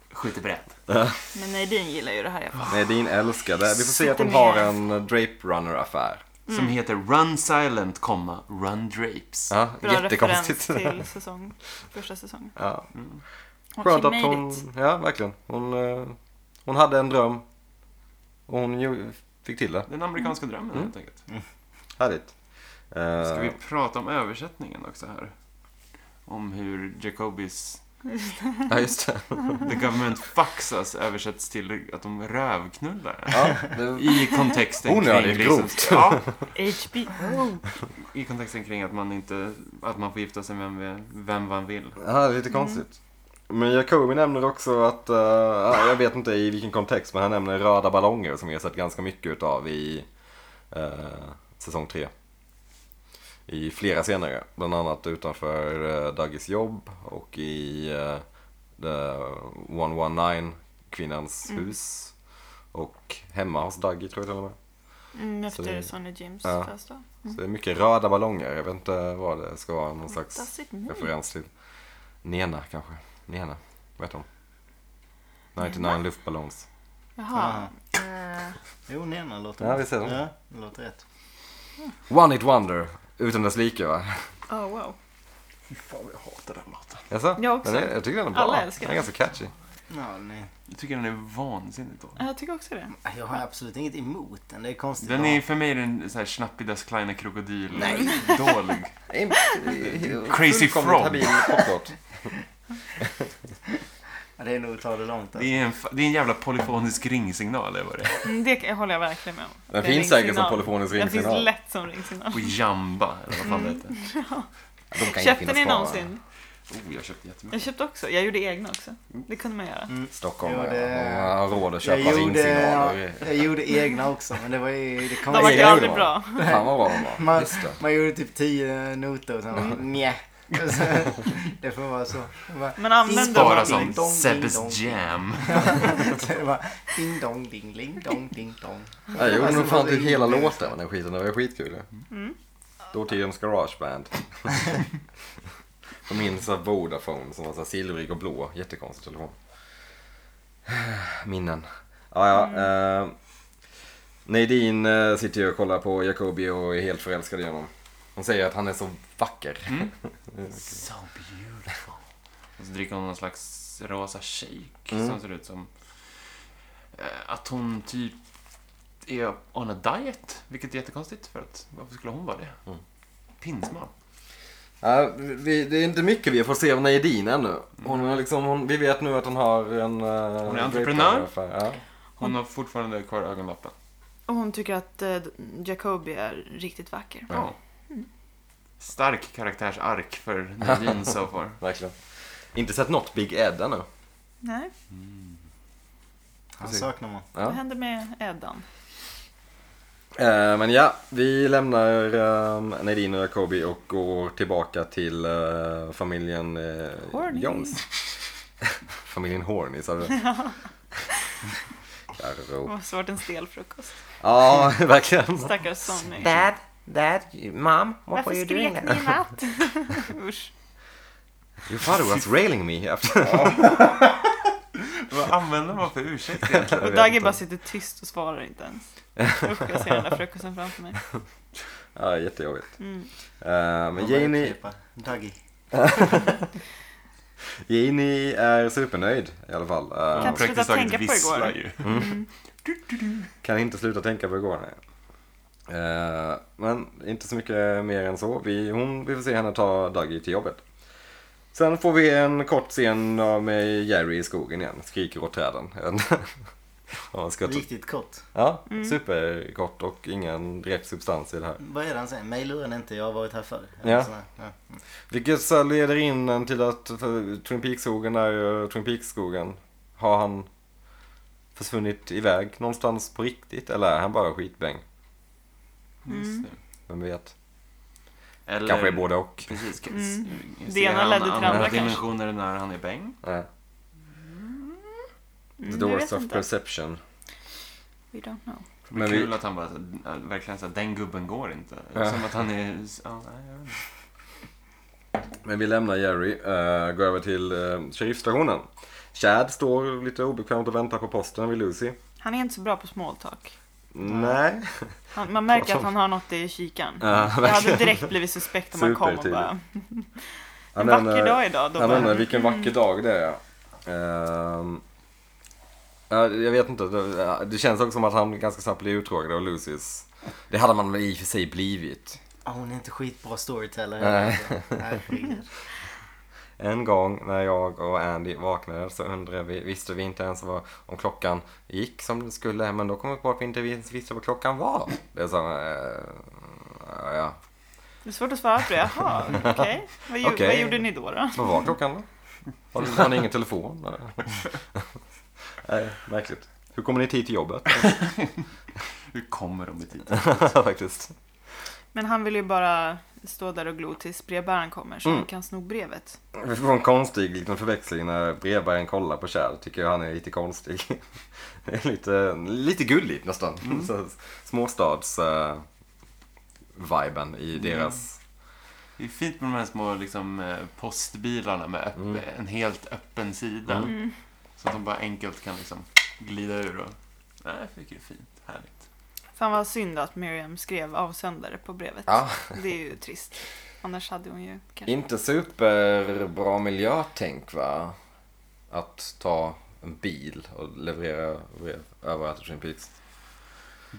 Skjuter brett.
Men Nadine gillar ju det här i alla fall.
Nej, din älskade. Vi får se att de
Sitter
har
med.
en Drape Runner-affär.
Som heter Run Silent, komma, Run Drapes.
Ja,
Bra referens
jättekonstigt.
till säsong, första säsongen.
Ja.
Hon
Skönt
she
att
made it.
hon, ja verkligen. Hon, eh, hon hade en dröm och hon ju- fick till det.
Den amerikanska drömmen helt enkelt.
Härligt. Eh,
Ska vi prata om översättningen också här? Om hur Jacobis
Ja, just det.
The Government Fucks Us översätts till att de rövknullar.
Ja, det
I kontexten
Onödigt
kring... liksom-
grovt.
ja,
HBO.
I kontexten kring att man inte... Att man får gifta sig med vem, vem man vill.
ja, det är lite konstigt. Men Jacobi nämner också att, eh, ja, jag vet inte i vilken kontext, men han nämner röda ballonger som vi har sett ganska mycket utav i eh, säsong 3. I flera senare, bland annat utanför uh, Dagis jobb och i eh, The 119, kvinnans hus. Och hemma hos Daggy tror jag till och med.
Mm,
Så
efter
det-
Sonny Jims
Ja.
födelsedag.
Så det är mycket röda ballonger. Jag vet inte vad det ska vara någon slags
Does it mean?
referens till. Nena kanske. Nena. Vad heter hon? 99 luftballons.
Jaha. Eh,
Jo, Nena låter
Ja, vi ser den.
Ja, det låter rätt.
One It Wonder. Utan dess like va?
Oh wow.
Fan, jag hatar den låten.
Jaså?
Jag också.
Den Är, jag tycker den är bra.
Alla älskar
den. är ganska catchy.
Ja, nej.
Jag tycker den är vansinnigt dålig.
Ja, Jag tycker också det.
Jag har absolut inget emot den. Det är konstigt.
Den
Ja.
är för mig den så här Schnappidas kleine krokodil. Dålig. Crazy
Fullkomligt
Frog.
habil poplåt.
Ja, det är nog att ta det långt. Alltså.
Det är en, fa- det är en jävla polyfonisk ringsignal, eller vad det är.
Mm, Det kan- håller jag verkligen med om.
Den
Det är
finns säkert
ringsignal.
som polyfonisk
Den
ringsignal.
finns lätt som ringsignal.
På jamba, eller vad fan det heter.
Mm.
De kan ju
Köpte
finnas
ni
kvar, va?
någonsin?
Oh, jag köpte jättemycket.
Jag köpte också. Jag gjorde egna också. Det kunde man
Mm.
göra.
Stockholm
Jo,
ja,
det-
har råd att
Jag
köpa
gjorde,
ringsignaler.
jag gjorde egna också, men det var ju... Det kom
De var ju
egna
aldrig
gjorde
bra.
Fan vad bra de var.
Man,
Just det.
man gjorde typ tio noter och sen bara mjä. Och sen- Det får vara så. Det var
Men använde
Spara
Bara
dem.
Ding,
som
dong, ding, dong.
Sebbes Jam.
så det var ding dong ding ling dong ding dong.
Ja, Jag gjorde nog fan typ hela
Det-
låten med den skiten, det var skitkul ju.
Mm.
Dåtidens garageband. På min så här Vodafone som var så här silvrig och blå, jättekonstig telefon. Minnen. Ja, ja.
Mm.
Eh, Nadine eh, sitter ju och kollar på Jacobi och är helt förälskad i honom. Hon säger att han är så vacker.
Mm. So beautiful. Och så dricker hon någon slags rosa shake
Mm.
som ser ut som eh, att hon typ är on a diet. Vilket är jättekonstigt för att varför skulle hon vara det?
Mm.
Pinsmal.
Ja, vi, det är inte mycket vi får se av Nadine ännu. Hon är liksom, hon, vi vet nu att hon har en... eh,
Hon är entreprenör.
affär, Ja.
Hon har fortfarande kvar ögonlappen.
Och hon tycker att eh, Jacobi är riktigt vacker.
Ja.
Stark karaktärsark för Nadine so far.
Verkligen. Inte sett något Big Ed ännu.
Nej,
Han saknar man.
Ja.
vad hände med Eddan?
Eh, men ja, vi lämnar um, Nadine och Jacobi och går tillbaka till eh, familjen eh,
Horny.
Jones. familjen Horny, sa du?
Det
Karo.
måste varit en stel frukost.
Ja, verkligen.
Stackars Sonny.
Dad, Dad, Mom, what were you doing?
ni i natt? Usch.
Your father was railing me. after-
Vad använder man för ursäkt egentligen?
Jag
Och
vet
Dagge
inte.
bara sitter tyst och svarar inte ens. Usch, jag ser den där frukosten framför mig.
ja, jättejobbigt.
Mm.
Eh, men
typ-
Janie,
Daggy.
Janie är supernöjd i alla fall. Eh,
Kan inte sluta tänka på igår.
visslar ju.
Kan inte sluta tänka på igår. Nej. Eh, men inte så mycket mer än så. Vi, hon, vi får se henne ta Daggy till jobbet. Sen får vi en kort scen av med Jerry i skogen igen. Skriker åt träden. ja, ska ta...
Riktigt kort.
ja, superkort och ingen direkt substans i det här.
Vad är det han säger? Mig lurar inte, jag har varit här förr.
Ja.
Eller sådär. Ja.
Vilket så leder in en till att för Twin Peaks-skogen är ju Twin Peaks-skogen. Har han försvunnit iväg någonstans på riktigt eller är han bara skitbäng?
Mm.
Just det.
Vem vet?
Eller,
Kanske är både och.
Precis.
Mm.
Ser
Det ena
han
ledde till
andra
andra
dimensioner när han är bäng?
Ja. The
Mm, jag vet
doors of
inte.
perception.
We don't know.
Men
Kul
vi,
att han bara äh, verkligen såhär, den gubben går inte.
Ja.
Som att han är... Ja, nej, jag vet inte.
men vi lämnar Jerry, eh, går över till uh, sheriffstationen. Chad står lite obekvämt och väntar på posten vid Lucy.
Han är inte så bra på small talk.
Nej.
Han, man märker att han har något i kikan.
Ja,
Jag hade direkt blivit suspekt om han kom och
Supertydligt.
bara... En
Han
vacker
undrar-
dag Mm. idag. Då
Han
bara,
undrar vilken vacker dag det är. Ehm, ja, jag vet inte, det, det känns också som att han ganska snabbt blir uttråkad av Lucys. Det hade man väl i och för sig blivit.
Ah, hon är inte skitbra storyteller.
Nej.
Alltså. Herregud.
En gång när jag och Andy vaknade så undrade vi, visste vi inte ens vad, om klockan gick som den skulle. Men då kom vi på att vi inte ens visste vad klockan var. Det är så, eh, ja.
Det är svårt att svara på det. Jaha, okej. Vad, gjo-
Okej.
vad gjorde ni då? då?
Vad var klockan då? Har ni- Har ni ingen telefon? Nej, märkligt. Hur kommer ni tid till jobbet?
Hur kommer de dit?
Faktiskt.
Men han vill ju bara stå där och glo tills brevbäraren kommer så
Mm.
han kan sno brevet.
Vi får en konstig liten förväxling när brevbäraren kollar på Kjell. Tycker jag han är lite konstig. Det är lite, lite gulligt nästan. Mm. Småstads-viben eh, i deras...
Det är fint med de här små liksom, eh, postbilarna med öpp-
Mm.
en helt öppen sida.
Mm.
Så att de bara enkelt kan liksom glida ur och... Nej, jag tycker det är fint. Härligt.
Fan vad synd att Miriam skrev avsändare på brevet.
Ja.
Det är ju trist. Annars hade hon ju kanske...
Inte superbra miljötänk va? Att ta en bil och leverera brev överallt i Twin Peaks.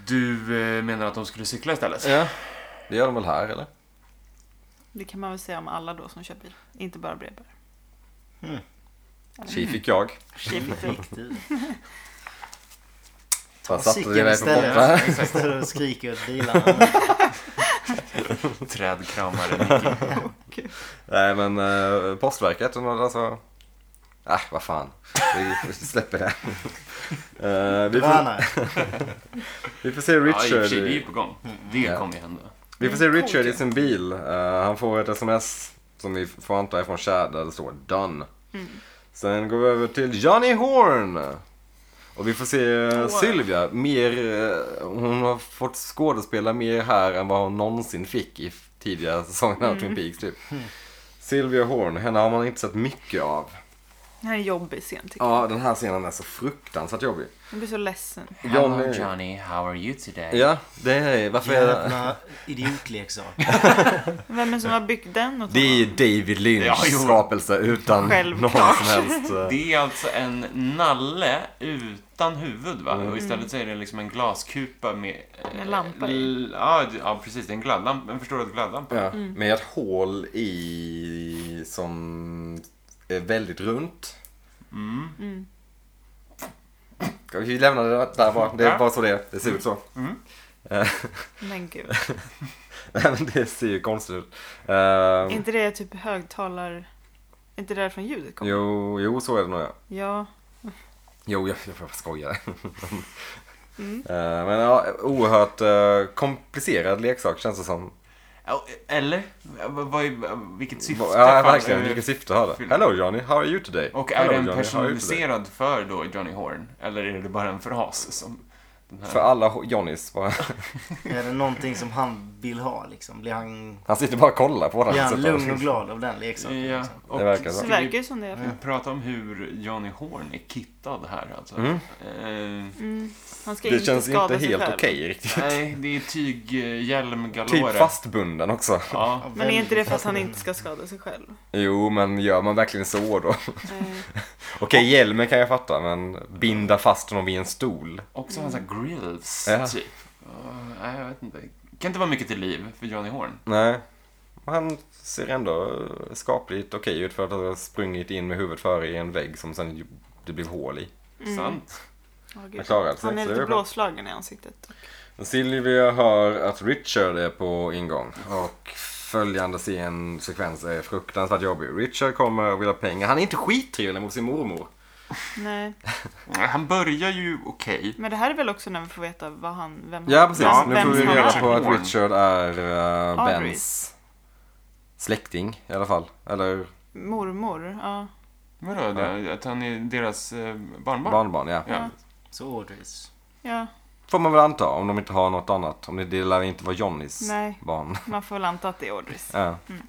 Du eh, menar att de skulle cykla istället?
Ja, det gör de väl här eller?
Det kan man väl säga om alla då som kör bil. Inte bara brevbäraren.
Tji fick jag.
Tji fick du.
Riktigt.
Ta
Cykeln istället. Istället för att skrika åt bilarna.
Trädkramare.
Nej men eh, postverket, de hade alltså... Äh, vad fan. Vi släpper det. Eh, vi, får,
Drönare.
vi får se
Ja, i och för sig, det är
Richard,
ju på gång. Det
Ja.
kommer ju hända.
vi får se Richard i sin bil. Eh, han får ett sms som vi får anta är från Chad där det står Done.
Mm.
Sen går vi över till Johnny Horn. Och vi får se eh, Sylvia. Mer, eh, hon har fått skådespela mer här än vad hon någonsin fick i f- tidigare säsonger
Mm.
av Twin Peaks typ. Sylvia Horn, henne har man inte sett mycket av.
Det här är en jobbig scen tycker jag.
Ja, den här scenen är så fruktansvärt jobbig.
Jag blir så ledsen.
Hello
Johnny.
Johnny, how are you today?
Ja, det är varför är det?
Öppna idiotleksaker.
Vem är det som har byggt den åt
Det är ju
honom?
David Lynchs
Ja, jo.
skapelse utan någon
Självklart.
som helst... eh,
Det är alltså en nalle utan huvud va? Och istället så är det liksom en glaskupa med... eh,
Med lampa i.
l- Ja, det- ja precis. Det är en gladlampa. En förstorad gladlampa.
Ja, Med ett hål i som är väldigt runt.
Mm.
Mm. Ska Vi lämnar det där bara. Det är
Ja.
bara så det är. Det ser ut så.
Men gud.
Nej,
Mm.
men det ser ju konstigt ut. Eh,
Är inte det typ högtalar... Är inte det därifrån ljudet kommer?
jo, jo, så är det nog ja.
Ja.
Jo, jag, jag bara skojar.
Mm.
Eh, men ja, oerhört eh, komplicerad leksak känns det som.
Ja, Eller? Ja, vad- vad är- Vilket syfte?
Ja,
fan-
verkligen.
eh,
Vilket syfte har det?
Fyll-
Hello Johnny, how are you today?
Och är
Hello,
den
Johnny, how are you today?
personaliserad för då Johnny Horn? Eller är det bara en fras som... Den här...
För alla ho- Johnnys bara.
Är det någonting som han vill ha liksom? Blir han,
Han sitter bara och kollar på den.
blir han
Så att-
lugn och glad av den leksaken?
Ja,
Liksom?
och
Det verkar så.
Det
ska
verkar
vi
ju som det. i alla fall.
prata om hur Johnny Horn är kittad här alltså?
Mm.
Eh,
Mm. Han ska
Det
inte
känns
skada
inte
sig
helt
själv.
okej riktigt.
nej, det är tyghjälm galore.
Typ fastbunden också.
Ja,
Ja,
Men är inte det
väldigt
för att han inte ska skada sig själv?
Jo, men gör man verkligen så då?
Eh,
Okej, hjälmen kan jag fatta, men binda fast honom vid en stol.
Också hans mm. grills,
Ja.
typ. Ja, nej, jag vet inte. Kan inte vara mycket till liv för Johnny Horn.
Nej. han ser ändå skapligt okej ut för att ha sprungit in med huvudet före i en vägg som sen ju- det blev hål i.
Mm.
Sant.
Åh, gud.
Han klarade sig.
Han är
så det
lite
var skönt.
blåslagen i ansiktet.
Silvia hör att Richard är på ingång och följande scen, sekvens är fruktansvärt jobbig. Richard kommer och vill ha pengar. Han är inte skittrevlig mot sin mormor.
Nej.
Han börjar ju okej.
Men det här är väl också när vi får veta vad han, vem
Ja, precis.
Ja,
nu
vem
får vi
som
reda
är.
på att
Horn.
Richard är uh,
Audrey.
Bens släkting i alla fall. Eller
Mormor, ja.
Vadå? det- Att han är deras eh, barnbarn?
barnbarn, ja.
Ja.
Så orders.
Ja,
Får man väl anta om de inte har något annat. Om det, det lär inte vara Johnnys
Nej.
barn.
man får väl anta att det är Audreys.
Ja.
Mm.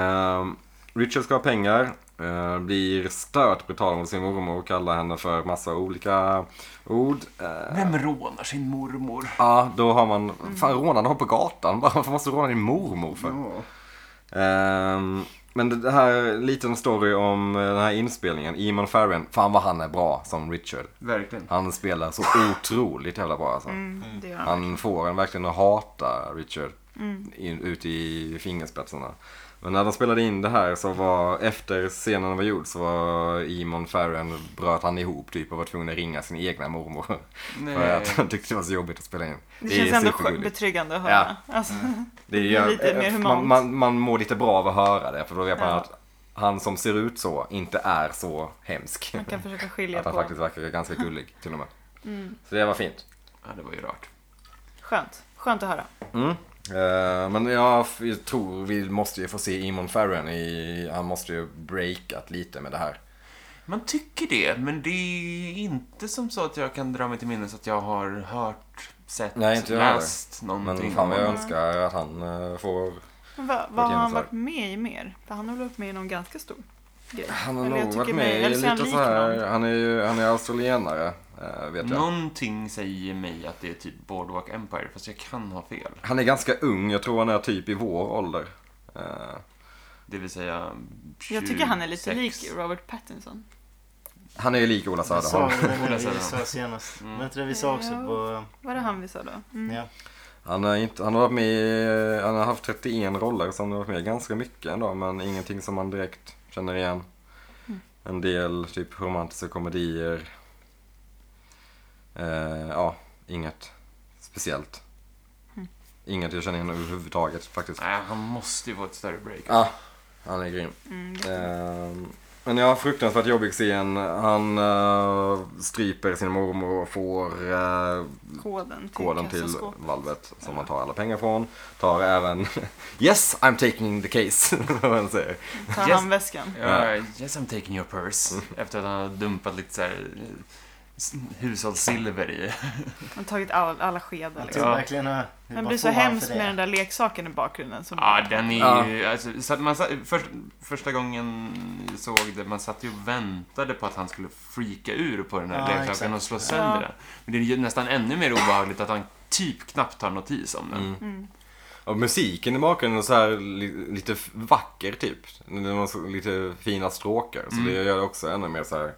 Ehm, Richard ska ha pengar. eh, blir stört brutal mot sin mormor och kallar henne för massa olika ord. Eh,
Vem rånar sin mormor? Mm.
Ja, då har man... Fan, rånade har på gatan. Varför måste du råna din mormor för? Ehm, men det- det här, är en liten story om eh, den här inspelningen. Eamon Farren, fan vad han är bra som Richard.
Verkligen.
Han spelar så otroligt jävla bra alltså.
Mm, det gör han.
Han får en verkligen att hata Richard
Mm.
in, ut i fingerspetsarna. Men när de spelade in det här så var, efter scenen var gjord så var Eamon Farren, bröt han ihop typ och var tvungen att ringa sin egna mormor. För att han tyckte det var så jobbigt att spela in.
Det, känns ändå skö-
supergulligt.
betryggande att höra. Alltså,
Mm.
Det
blir
gör,
lite
eh,
mer humant.
man, man, man mår lite bra av att höra det för då vet man
Ja.
att han som ser ut så inte är så hemsk.
man kan försöka skilja
Att han
på. Mm.
faktiskt verkar ganska gullig till och med. Så det var fint.
Ja, det var ju rart.
Skönt. Skönt att höra.
Mm. Eh, men jag, f- jag tror vi måste ju få se Eamon Farren i, han måste ju breakat lite med det här.
Man tycker det, men det är inte som så att jag kan dra mig till minnes att jag har hört, sett,
Nej, inte jag heller.
läst någonting.
Men fan vad jag
om-
önskar att han eh, får,
Men vad, vad har han
genomslag.
varit med i mer? För han har väl varit med i någon ganska stor grej?
han har
Eller jag
nog
tycker
varit
mig-
med i
eller så
lite
är han
så
lik
här,
någon.
han är ju, han är australienare eh, vet jag.
Någonting säger mig att det är typ Boardwalk Empire, fast jag kan ha fel.
Han är ganska ung, jag tror han är typ i vår ålder. Eh,
Det vill säga
Jag tycker han är lite
26.
lik Robert Pattinson.
han är ju lik Ola
Det sa
Söderholm.
vi
Ola
det när vi
Söderholm.
sa senast.
Mm.
Var inte det vi sa också
Ja.
på...
Var det han vi sa då? Mm.
Ja.
Han, är inte, han har varit med i- han har haft 31 roller så han har varit med i ganska mycket ändå men ingenting som man direkt känner igen. En del typ romantiska komedier. Eh, ja, inget speciellt. Inget jag känner igen överhuvudtaget faktiskt.
Nej, han måste ju få ett större break.
Ja, han är grym.
mm,
Ehm, men ja, fruktansvärt jobbig scen. Han eh, stryper sin mormor och får eh,
Koden till
koden till
kassaskåpet.
valvet som man tar alla pengar från. Tar även Yes, I'm taking the case. vad han säger.
Ta
Yes.
handväskan.
Ja, yes I'm taking your purse. Efter att han har dumpat lite så här eh, s- hushållssilver i.
Han har tagit all, alla skedar.
Jag
Liksom.
tror
Ja.
verkligen att...
Han blir så hemskt med den där leksaken i bakgrunden. Som
Ja, den är ju... Alltså, så att man, satt- först, första gången jag såg det, man satt ju och väntade på att han skulle freaka ur på den här
Ja,
leksaken
exakt.
och slå sönder
Ja.
den. Men det är ju nästan ännu mer obehagligt att han typ knappt tar notis om
Mm.
den.
Mm.
Och musiken i bakgrunden är så här li- lite f- vacker typ. Det är någon så- lite fina stråkar. Så det gör det också ännu mer så här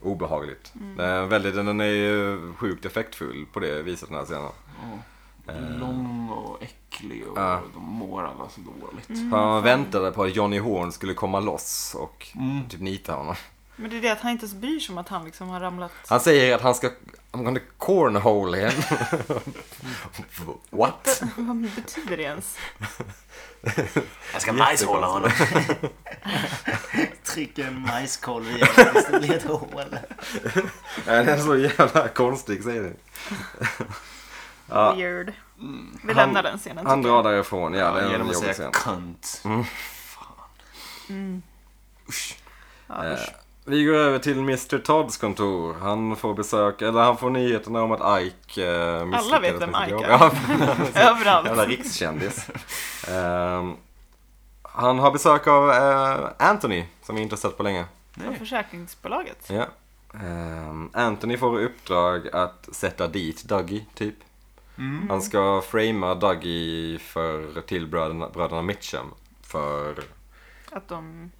obehagligt. Den, är väldigt, den är ju sjukt effektfull på det viset den här scenen.
Lång och äcklig och
Ja.
de mår alla så dåligt.
Han väntade på att Johnny Horn skulle komma loss och typ nita honom.
Men det är det att han inte ens bryr sig om att han liksom har ramlat.
Han säger att han ska, I'm gonna cornhole him. What?
Vad betyder det ens?
Jag ska bajshåla honom.
Trycker en majskolv i den tills det blir ett hål.
Nej, Den är så jävla konstig säger Ja. Mm.
Weird. Vi
Han-
lämnar den scenen.
Han
tycker jag.
drar därifrån, ja. Det är en
Genom att
jobbig
säga
scen.
cunt.
Ja, usch.
Vi går över till Mr Todds kontor. Han får besök, eller han får nyheterna om att Ike eh, misslyckades
Alla vet vem
med sitt
Ike
jobb.
är.
Ja, jävla
Överallt.
rikskändis. Ehm, han har besök av eh, Anthony, som vi inte har sett på länge.
Från försäkringsbolaget.
Ja. Ehm, Anthony får i uppdrag att sätta dit Dougie, typ.
Mm.
Han ska framea Dougie för, till bröderna, bröderna Mitchum för
Att de...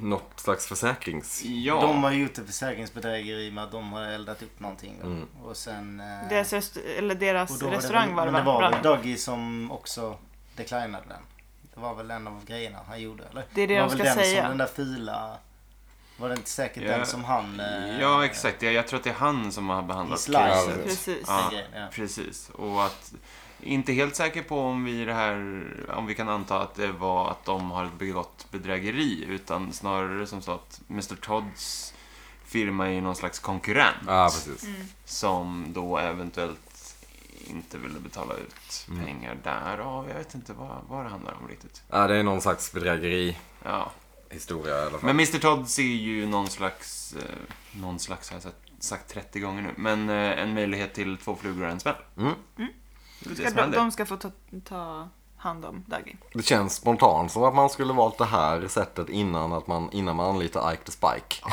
något slags försäkrings...
Ja.
De har gjort ett försäkringsbedrägeri med att de har eldat upp någonting. va?
Mm.
Och sen... eh,
Deras, rest- eller
och
deras
då var det-
restaurang var det
Men det var
va?
väl Doggy som också declinade den. Det var väl en av grejerna han gjorde eller?
Det är det
var
de
väl
ska
den
säga.
Som den där fula... Var det inte säkert
Ja.
den som han... eh,
Ja, exakt. Jag, jag tror att det är han som har behandlat
I slice.
caset.
Precis.
Ja.
den grejen, ja.
Precis. Och att... Inte helt säker på om vi i det här... Om vi kan anta att det var att de har begått bedrägeri. Utan snarare som så att Mr Todds firma är ju någon slags konkurrent.
Ja, precis.
Som då eventuellt inte ville betala ut
Mm.
pengar där. Ja, jag vet inte vad, vad det handlar om riktigt.
Ja, det är någon slags bedrägerihistoria i
Ja.
alla fall.
Men Mr Todds är ju någon slags... Eh, någon slags har jag sagt, sagt 30 gånger nu. Men eh, en möjlighet till två flugor och en smäll.
Mm.
Det är väl det
Ska
som
de,
händer.
de ska få ta, ta hand om Dougie.
Det känns spontant som att man skulle valt det här sättet innan, att man, innan man anlitar Ike the Spike.
Man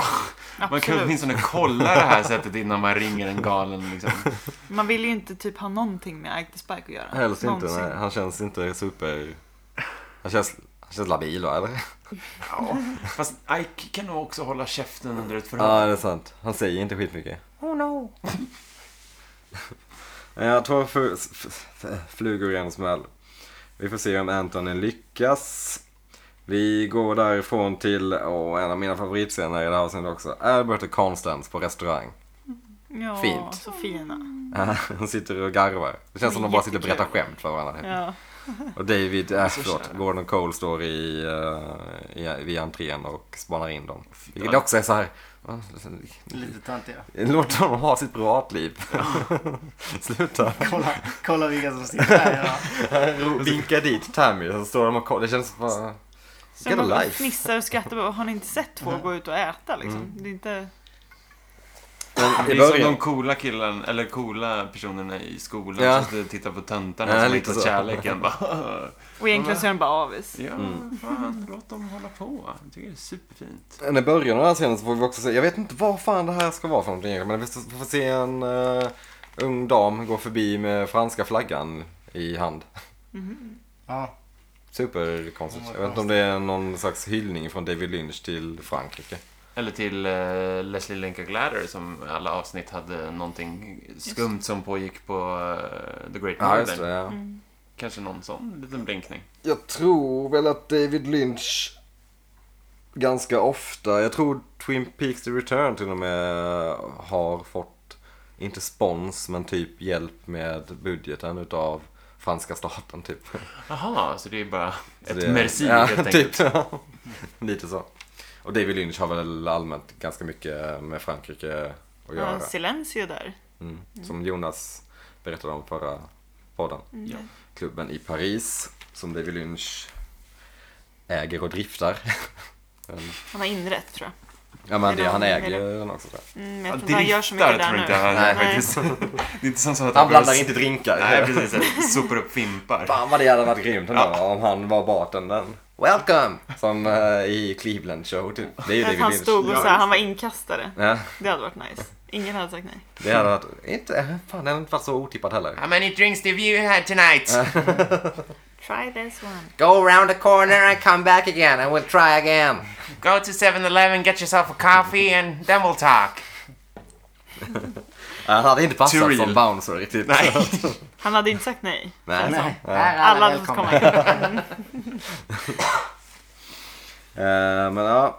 kan
Absolut. Man,
åtminstone kolla det här sättet innan man ringer en galen liksom.
vill ju inte typ ha någonting med Ike the Spike att göra.
Helst inte,
Någonsin.
nej. Han känns inte super... Han känns, han känns labil va, eller?
Ja. Fast Ike kan nog också hålla käften under ett förhör.
Ja, det är sant. Han säger inte skitmycket.
Oh no.
Eh, Jag tar för, f- f- flugor i en smäll. Vi får se om Anthony lyckas. Vi går därifrån till, och en av mina favoritscener i det här avsnittet också, Albert och Constance på restaurang.
Ja,
Fint. Mm.
så fina.
De sitter och garvar. Det känns som de bara sitter och berättar skämt för varandra.
Ja.
Och David, äh,
så
förlåt,
kära.
Gordon Cole står i, eh, i, vid entrén och spanar in dem. Vilket
vad-
också är så här,
Lite töntiga.
låt dem ha sitt privatliv. Sluta.
Kolla, kolla vilka som sitter här. Ja.
Vinka dit Tammy, så står de och kollar. Det känns bara...
Sen
Get a
man bara
life.
fnissar och skrattar. Bara, Har ni inte sett två gå ut och äta liksom? Det är inte...
Men
Det
i
är som
början...
de coola killarna, eller coola personerna i skolan
Ja.
som sitter tittar på töntarna
Ja,
som har
lite
hittat
så.
kärleken. Bara,
Och egentligen så är den bara avis.
ja,
Mm.
fan, låt dem hålla på. Jag tycker det är superfint.
Men I början av den här scenen så får vi också se, jag vet inte vad fan det här ska vara för någonting egentligen, men vi får se en eh, ung dam gå förbi med franska flaggan i hand.
Ja.
Superkonstigt.
Vad
Jag vet inte om det är någon slags hyllning från David Lynch till Frankrike.
Eller till eh, Leslie Linka Gladder som alla avsnitt hade någonting skumt som pågick på eh, The Great
Ja,
Northern.
just det. Ja.
Kanske någon sån liten blinkning.
Mm. Jag tror väl att David Lynch ganska ofta, jag tror Twin Peaks The Return till och med har fått, inte spons, men typ hjälp med budgeten utav franska staten typ.
Jaha, så det är bara
Så
ett
det-
merci
ja,
helt enkelt.
typ, ja. Lite så. Och David Lynch har väl allmänt ganska mycket med Frankrike att göra.
Ja, Silencio där.
Mm. Mm. Som Jonas berättade om förra podden.
Ja.
Klubben i Paris som David Lynch äger och driftar.
Han har inrett tror jag.
Ja men det, han
Eller-
äger ju den också. tror jag.
Mm, men
Ja,
jag tror inte han gör så mycket där
tror
nu.
inte jag
Nej.
han faktiskt. Det är inte som så att
Han blandar
bara-
inte drinkar.
Nej, precis. Sopar upp fimpar.
Fan vad det hade varit grymt ändå om han var bartendern. Welcome! Som eh, i Cleveland show typ. Det är ju
Att
David
han
Lynch.
stod och
Ja,
så här, han var inkastare.
Ja,
Det hade varit nice. Ingen hade sagt nej.
det hade varit... Inte, eh, fan det hade inte varit så otippat heller.
How many drinks did you have tonight?
Try this one.
Go around the corner and come back again and we'll try again.
Go to 7-Eleven, get yourself a coffee and then we'll talk.
Han hade inte
Too
passat
real.
som bouncer riktigt.
Nej.
Han hade inte sagt nej.
Nej.
Nej.
Alla hade fått komma in.
Eh, men ja.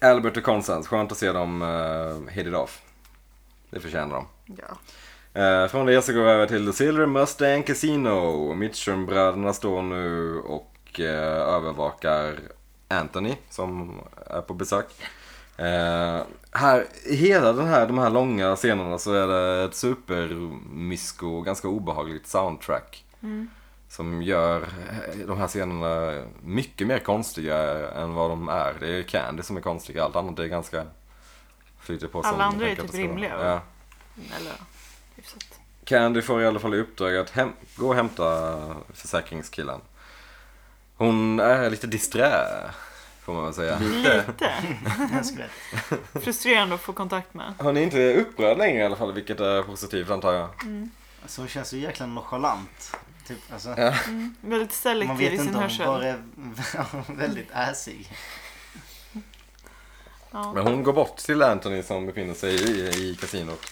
Albert och Constance, skönt att se dem uh, hit it off. Det förtjänar de.
Ja.
Eh, Från det så går vi över till The Silver Mustang Casino. Mitchum-bröderna står nu och eh, övervakar Anthony som är på besök. Eh, här, i hela den här, de här långa scenerna så är det ett supermysko, ganska obehagligt soundtrack.
Mm.
Som gör eh, de här scenerna mycket mer konstiga än vad de är. Det är Candy som är konstig, allt annat är ganska... Flyter på som
Alla andra är
tänker att
typ
det ska vara.
rimliga, va?
Ja.
Eller ja, hyfsat.
Candy får i alla fall i uppdrag att hem- gå och hämta försäkringskillen. Hon är lite disträ, får man väl säga.
Mm. Lite
Jag skvätt.
frustrerande att få kontakt med.
Hon är inte upprörd längre i alla fall, vilket är positivt antar jag.
Alltså hon känns så jäkla nonchalant. Typ, alltså,
Väldigt
man
selektiv
vet
i sin
inte om hon
hörsel.
bara är väldigt äsig.
Ja.
Men hon går bort till Anthony som befinner sig i, i kasinot.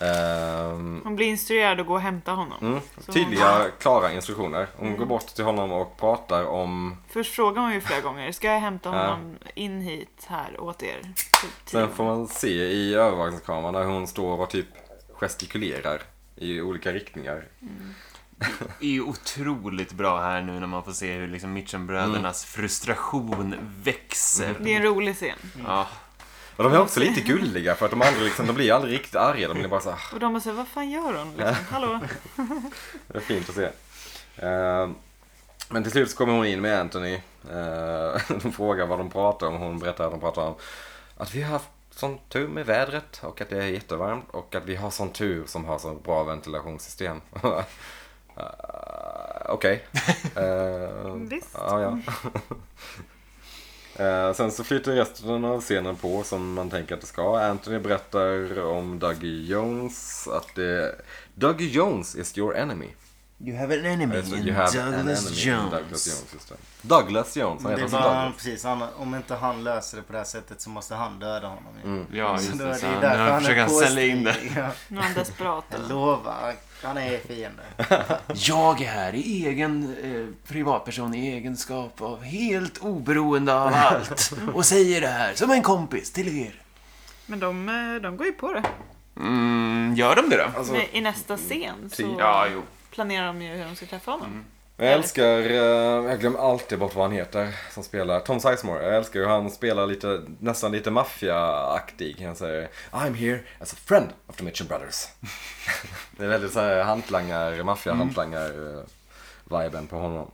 Ehm,
Hon blir instruerad att gå och hämta honom.
mm,
Så
tydliga, klara instruktioner. Hon går bort till honom och pratar om...
Först frågar hon ju flera gånger, ska jag hämta honom in hit här åt er? Typ tio
Sen får man se i övervakningskameran där hon står och typ gestikulerar i olika riktningar.
är ju otroligt bra här nu när man får se hur liksom Mitchenbrödernas
Mm.
frustration växer.
Det är en rolig scen.
Ja.
Och de är också lite gulliga för att de, aldrig, liksom, de blir aldrig riktigt arga. De blir bara så här,
Och de bara såhär, vad fan gör hon? Liksom. Hallå?
Det är fint att se. Eh, Men till slut så kommer hon in med Anthony. Eh, De frågar vad de pratar om. Hon berättar att de pratar om att vi har haft sån tur med vädret och att det är jättevarmt och att vi har sån tur som har så bra ventilationssystem. Eh, Okej. Eh,
Visst.
Ja, ja. Eh, Sen så flyter resten av scenen på som man tänker att det ska. Anthony berättar om Dougie Jones. Att det... Dougie Jones is your enemy.
You have an enemy
Alltså, you have an enemy in Douglas Jones. Just det. Douglas Jones, han
Det
heter alltså
är bara,
Douglas.
precis, han, om inte han löser det på det här sättet så måste han döda honom. ju.
Ja,
Så
just
då
det.
är
Så
ju
han,
därför
nu försöker han
påstådd.
sälja in det.
Ja,
Nu är han desperat.
jag lovar, han är fiende.
Jag är här i egen eh, privatperson i egenskap av helt oberoende av allt och säger det här som en kompis till er.
Men de, eh, de går ju på det.
Mm, gör de det då?
Alltså, Typ.
Men I nästa scen så
Ja, jo.
planerar de ju hur de ska träffa honom.
jag älskar, eh, jag glömmer alltid bort vad han heter som spelar, Tom Sizemore. Jag älskar hur han spelar lite, nästan lite maffia-aktig. Han säger I'm here as a friend of the Mitchum Brothers. det är väldigt så här hantlangar, maffia-hantlangar-viben på honom.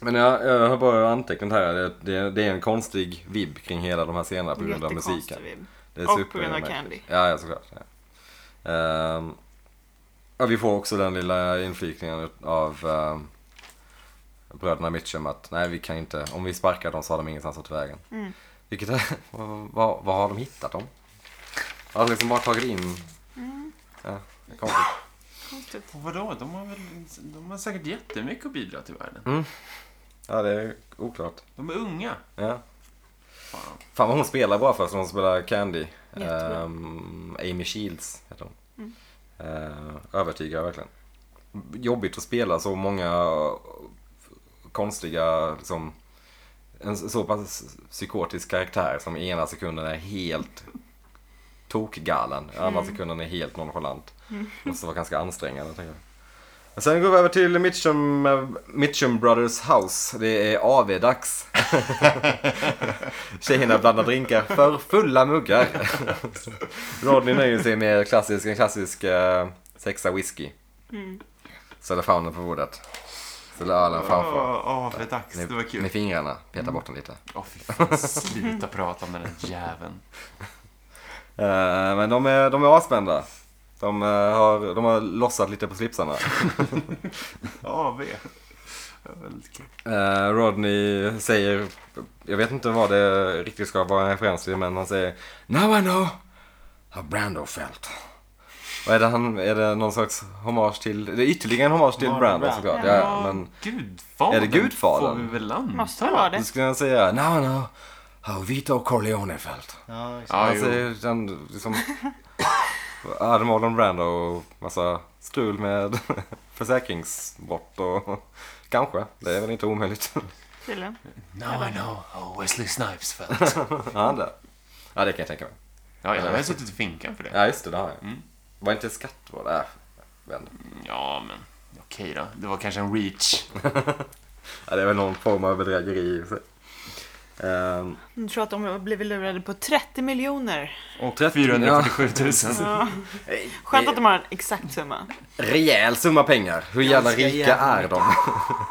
Men jag, jag har bara antecknat här, det, det, det är en konstig vibb kring hela de här scenerna på grund av
Jättekonstig
musiken.
vibb.
Det är
Och på
super-
grund av Candy.
Ja, ja såklart. Ja. Ehm, ja, vi får också den lilla inflikningen ut- av ehm, bröderna Mitchum att nej, vi kan inte, om vi sparkar dem så har de ingenstans att ta vägen.
Mm.
Vilket är, vad, vad, vad har de hittat dem? Har de liksom bara tagit in?
Mm.
Ja, konstigt.
Konstigt.
Och vadå? De har, väl, de har säkert jättemycket att bidra till världen.
Mm. ja, det är oklart.
De är unga.
Ja.
Fan.
Fan vad hon spelar bra förresten, hon spelar Candy.
Jättebra.
Ehm, Amy Shields heter hon. Ehm, övertygar verkligen. Jobbigt att spela så många konstiga, liksom, en så pass psykotisk karaktär som i ena sekunden är helt tokgalen, i andra sekunden är helt nonchalant. Måste vara ganska ansträngande tänker jag. Sen går vi över till Mitchum, eh, Mitchum Brothers House. Det är AV-dags. Tjejerna blandar drinkar för fulla muggar. Rodney nöjer sig med klassisk, en klassisk eh, sexa whisky. Ställer faunen på bordet. Ställer ölen framför.
Åh, oh, dags.
Med,
Det var kul. Mm.
med fingrarna, peta bort den lite.
Åh, fy fan. Sluta prata om den där jäveln.
Eh, men de är, de är avspända. De, eh, har, de har lossat lite på slipsarna.
AV. Det var Väldigt kul.
Eh, Rodney säger, jag vet inte vad det riktigt ska vara en referens till, men han säger Now I know how Brando felt. Och är, det han, är det någon slags hommage till, det är ytterligare en hommage till
Marlon
Brando
Brando.
såklart. Ja,
Ja.
ja, men
Gudfadern.
Är det Gudfadern?
Får vi väl anta.
Måste vara det.
då skulle jag säga Now I know how Vito Corleone felt.
Ja, just det.
Ja,
alltså,
jo.
den, liksom, hade Marlon Brando och massa strul med försäkringsbrott och kanske, det är väl inte omöjligt.
Tydligen.
Now I know how Wesley Snipes felt.
ja, det. ja, det kan jag tänka mig.
Ja, jag har suttit i finkan för det.
Ja, just det, det har jag. Var inte skatt var det? Äh, väl.
Ja, men okej då. Det var kanske en reach.
Ja, det är väl någon form av bedrägeri. i och för sig. Ehm,
Jag tror att de har blivit lurade på 30 miljoner.
Och
30,
447 000.
Skönt att de har en exakt summa.
Rejäl summa pengar. Hur jävla
Ganska
rika
jävla
är de?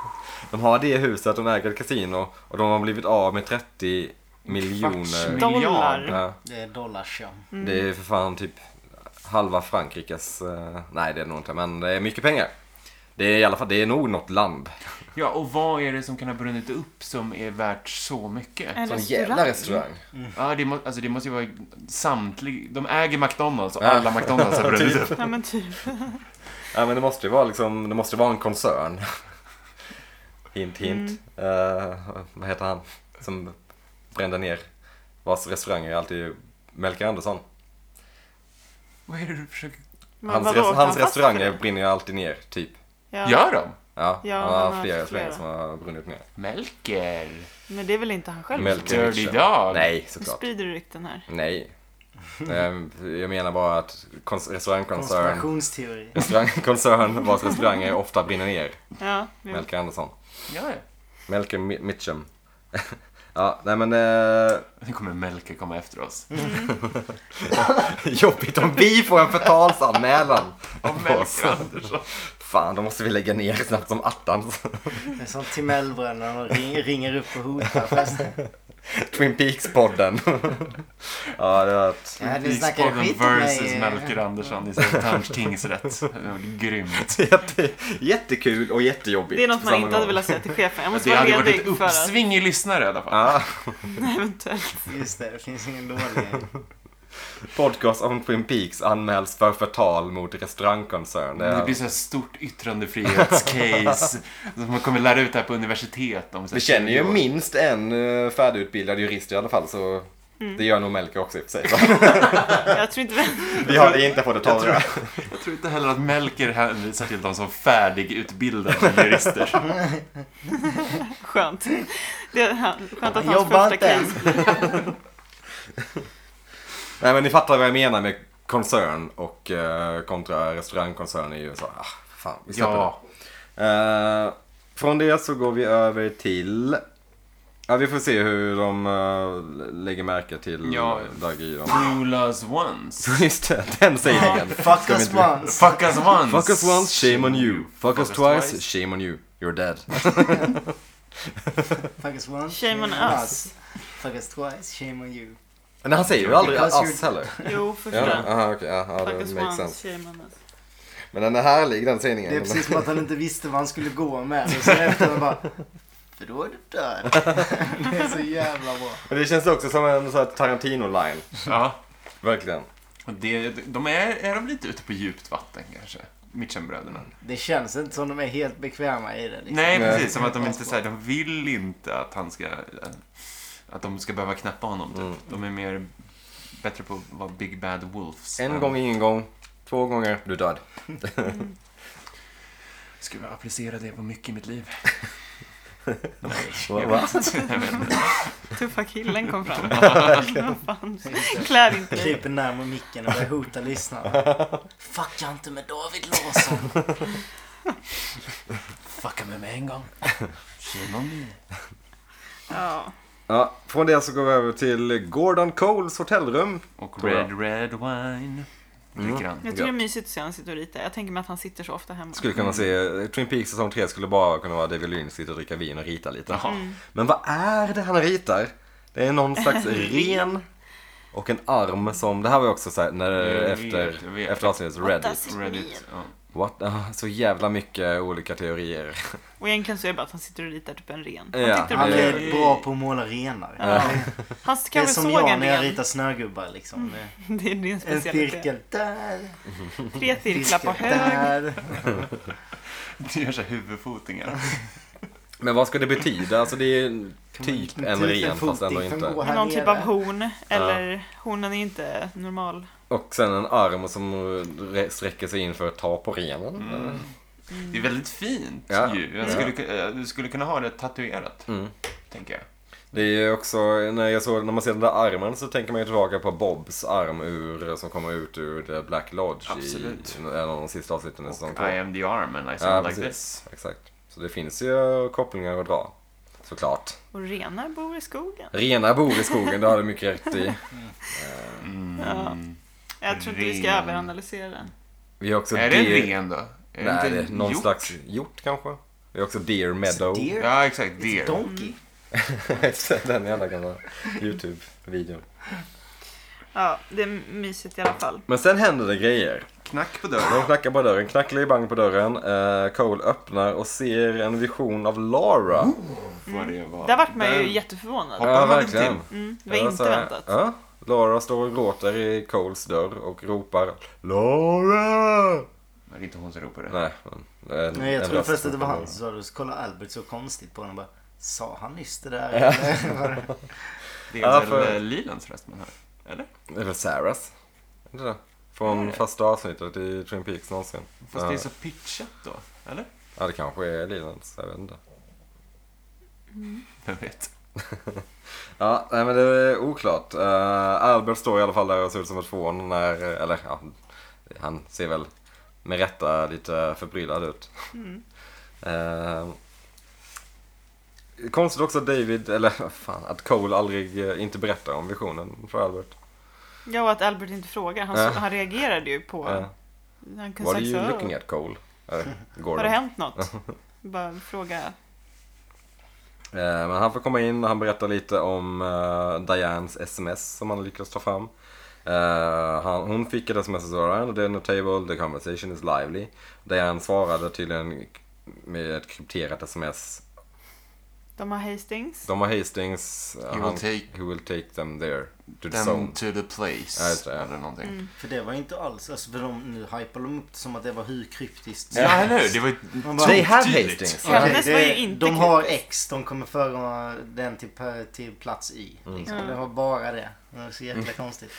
de har det huset, de äger ett kasino och de har blivit av med 30 miljoner.
Miljard.
Dollar.
Ja,
Det är dollars ja.
det är för fan typ halva Frankrikes... eh, nej, det är det nog inte, men det är mycket pengar. Det är i alla fall, det är nog något land.
Ja, och vad är det som kan ha brunnit upp som är värt så mycket?
Eh.
En
Sån jävla restaurang.
Ja, det, må, alltså, det måste ju vara samtlig... De äger McDonalds och
Ja.
alla McDonalds har brunnit upp.
Ja men typ.
Ja men det måste ju vara liksom, det måste vara en koncern. hint hint.
Mm.
Eh, vad heter han som brände ner vars restauranger alltid Melker Andersson.
Vad är det du försöker...
Men
Hans,
vadå,
res-
åkte
hans
fast för
restauranger
det?
brinner ju alltid ner, typ.
Ja.
Gör de?
Ja,
Ja,
han
han
har
har
flera
haft flera.
restauranger som har brunnit ner.
Melker.
Men det är väl inte han själv?
Melker.
som-
Dirty
Richard.
Dog.
Nej,
Nu
såklart.
sprider du rykten här.
Nej. Ehm, Jag menar bara att kons- restaurangkoncern
Konspirationsteori.
restaurangkoncern vars restauranger ofta brinner ner.
Ja, jo.
Melker Andersson.
Ja, ja.
Melker Mi- Mitchum. Ja, nej men... Eh,
Nu kommer Melker komma efter oss.
jobbigt om vi får en förtalsanmälan.
Och Melker Andersson.
Fan, då måste vi lägga ner snabbt som attans.
Det är som Timellbröderna, de ring, ringer upp och hotar festen.
Twin Peaks-podden. ja, det var ett...
Ja, ni snackar
Rikspodden
skit om
versus
mig.
Melker Andersson i Södertörns tingsrätt. Det var Grymt.
Jätte, jättekul och jättejobbigt.
Det är något
på
man
samma
inte hade
gång.
velat säga till chefen. Jag måste
Alltså, Det
vara
hade varit ett
ledig för att...
uppsving i lyssnare i alla fall.
Ja,
Eventuellt.
Just det, det finns ingen dålig.
podcast om Twin Peaks anmäls för förtal mot restaurangkoncern. Det
Det
är-
blir så här stort yttrandefrihetscase. som man kommer lära ut det här på universitet om så här
Vi känner ju
20 år.
minst en eh, färdigutbildad jurist i alla fall så det gör nog Melker också i och för sig. va?
Jag tror inte det.
Vi har det inte på det torra.
Jag tror inte heller att Melker hänvisar till dem som färdigutbildade jurister.
Skönt. Det är han- skönt att hans
Jobba
första
inte än.
case...
Nej men ni fattar vad jag menar med koncern och eh, kontra restaurangkoncern är ju så, ah, fan vi släpper
Ja,
det. Eh, från det så går vi över till, ja vi får se hur de eh, lägger märke till
Ja.
ja. Dag i dem.
rule us once.
Just det, den sägningen.
Fuck
Ska vi
us
inte-
once.
Fuck us once.
Fuck us once, shame on you. Fuck us twice, shame on you. You're dead.
Fuck us once.
Shame on us.
Fuck us twice. Shame on you.
Men han säger ju aldrig
Because
us
you're-
heller.
Jo, första.
Ja, aha, okej, ja, ja, det
Fuck us
makes
once,
sense.
säger man alltså.
Men den är härlig den sägningen.
Det är precis som att han inte visste vad han skulle gå med. Och sen efter bara... För då är du död. Det är så jävla bra.
Men det känns också som en sån här Tarantino-line.
Ja,
Verkligen.
och det, de är, är de lite ute på djupt vatten kanske? Mitchenbröderna.
Det känns inte som de är helt bekväma i det. Liksom.
Nej,
Nej.
precis. Som att de inte säger, de vill inte att han ska... Att de ska behöva knäppa honom, typ.
Mm.
De är mer... Bättre på att vara Big Bad Wolves.
En
än-
gång, ingen gång. Två gånger, du är död.
Skulle jag applicera det på mycket i mitt liv?
Va-
Jag
va?
vet inte. Jag vet inte.
Tuffa killen kom fram. Vad fan. Klär inte dig.
Kryper närmare micken och börjar hota lyssnarna. Fucka inte med David Larsson.
Fucka med mig en gång.
Shame on you.
Ja.
Ja, från det så går vi över till Gordon Coles hotellrum.
Och
Tror jag. Mm.
Red Red Wine. Dricker han.
Jag tycker det är mysigt att se han sitter och ritar. Jag tänker mig att han sitter så ofta hemma.
Skulle kunna se, Twin Peaks säsong 3 skulle bara kunna vara David Lynch sitta och dricka vin och rita lite.
Jaha.
Men vad är det han ritar? Det är någon slags ren och en arm som, det här var ju också såhär, när,
Jag vet,
efter,
jag vet.
efter avsnittet Reddit.
does it
Reddit. Ja.
What? Ah, Så jävla mycket olika teorier.
Och egentligen så är det bara att han sitter och ritar typ en ren. Han
Ja,
tyckte det var
Han
det-
kul.
är bra på att måla renar.
Han
Det är
kanske
som
såg en
jag när jag
ren.
ritar snögubbar liksom.
Det är din
En
specialitet.
cirkel där,
Tre
Mm,
cirklar på
cirkel
hög.
där.
Du gör så här huvudfotingar.
Men vad ska det betyda? Alltså det är ju typ
man-
en
typ
ren
en
fast ändå
foting kan gå
inte.
här
Någon typ
nere.
av horn. Eller hornen är inte normal.
Och sen en arm som re- sträcker sig in för att ta på renen.
Mm. Det är väldigt fint
Ja. Mm.
ju. Jag skulle, ku- eh, du skulle kunna ha det tatuerat. Tänker jag.
Det är ju också, när, jag såg, när man ser den där armen så tänker man ju tillbaka på Bobs arm ur, som kommer ut ur The Black Lodge
Absolut.
i en av de sista avsnitten i säsong två.
Och I am the arm and I
Ja,
sound like
precis.
this.
Exakt. Så det finns ju kopplingar att dra. Såklart.
Och renar bor i skogen.
Rena bor i skogen, det har du mycket rätt i.
Ja. Jag tror inte vi ska
Ren.
överanalysera den.
Vi har också
Är det en
deer-
ren då? Är
Nej, det
inte
är
en
någon
hjort?
slags hjort kanske. Vi har också Deer Meadow.
Deer?
Ja, exakt.
It's a
Deer.
Mm.
donkey.
Den jävla gamla YouTube-videon.
Ja, det är mysigt i alla fall.
Men sen händer det grejer.
Knack på
De
dörren.
knackar på dörren, knackar bang på dörren. Eh, Cole öppnar och ser en vision av Lara.
Vad det var.
Där vart man ju
Där-
jätteförvånad.
Ja,
hoppar man inte
verkligen.
Mm, det
Jag
var inte
så här,
väntat.
Ja, Lara står och gråter i Coles dörr och ropar Lara!
Det är inte hon som ropar det.
Nej, men det är en,
Nej, jag
en
trodde
röst
först att det
som
var
kommer.
han som sa det och så kollade Albert så konstigt på honom bara Sa han nyss det där? eller var det-
Det är
Ja,
väl
för-
eh, Lilans röst man hör? Eller?
Det är väl Sarahs? Är det det?
Är det?
Från första avsnittet i Twin Peaks någonsin.
Fast det är
Ja.
så pitchat då, eller?
Ja, det kanske är Lelands. Jag vet inte.
Vem vet?
Ja, nej, men det är oklart. Eh, Albert står i alla fall där och ser ut som ett fån när, eller ja, han ser väl med rätta lite förbryllad ut.
Mm.
Eh, konstigt också att David, eller vad fan, att Cole aldrig, eh, inte berättar om visionen för Albert.
Ja, och att Albert inte frågar. Han,
Ja.
han reagerade ju på...
Uh,
han kunde
what are
sagt så
you
här,
looking at Cole? Eh, Gordon.
Har det hänt något? Bara fråga.
Eh, Men han får komma in och han berättar lite om eh, Dianes sms som han lyckades ta fram. Eh, han, hon fick ett sms och så här, "The notable, the conversation is lively. Diane svarade tydligen med ett krypterat sms.
De har Hastings.
De har Hastings, eh,
He will take-
who will take them there. To the zone.
Them to the place.
Ja, just det, ja.
Eller någonting.
Mm.
För det var ju inte alls, alltså för de, nu hypar de upp det som att det var hur kryptiskt
Ja, eller hur? Det var ju
Man bara-
They have
tydligt.
Hastings.
Okej,
Hennes
det-
var ju inte
De har X, de kommer föra den till, per- till plats Y.
Mm.
Liksom. Det var bara det. Det var så jäkla konstigt.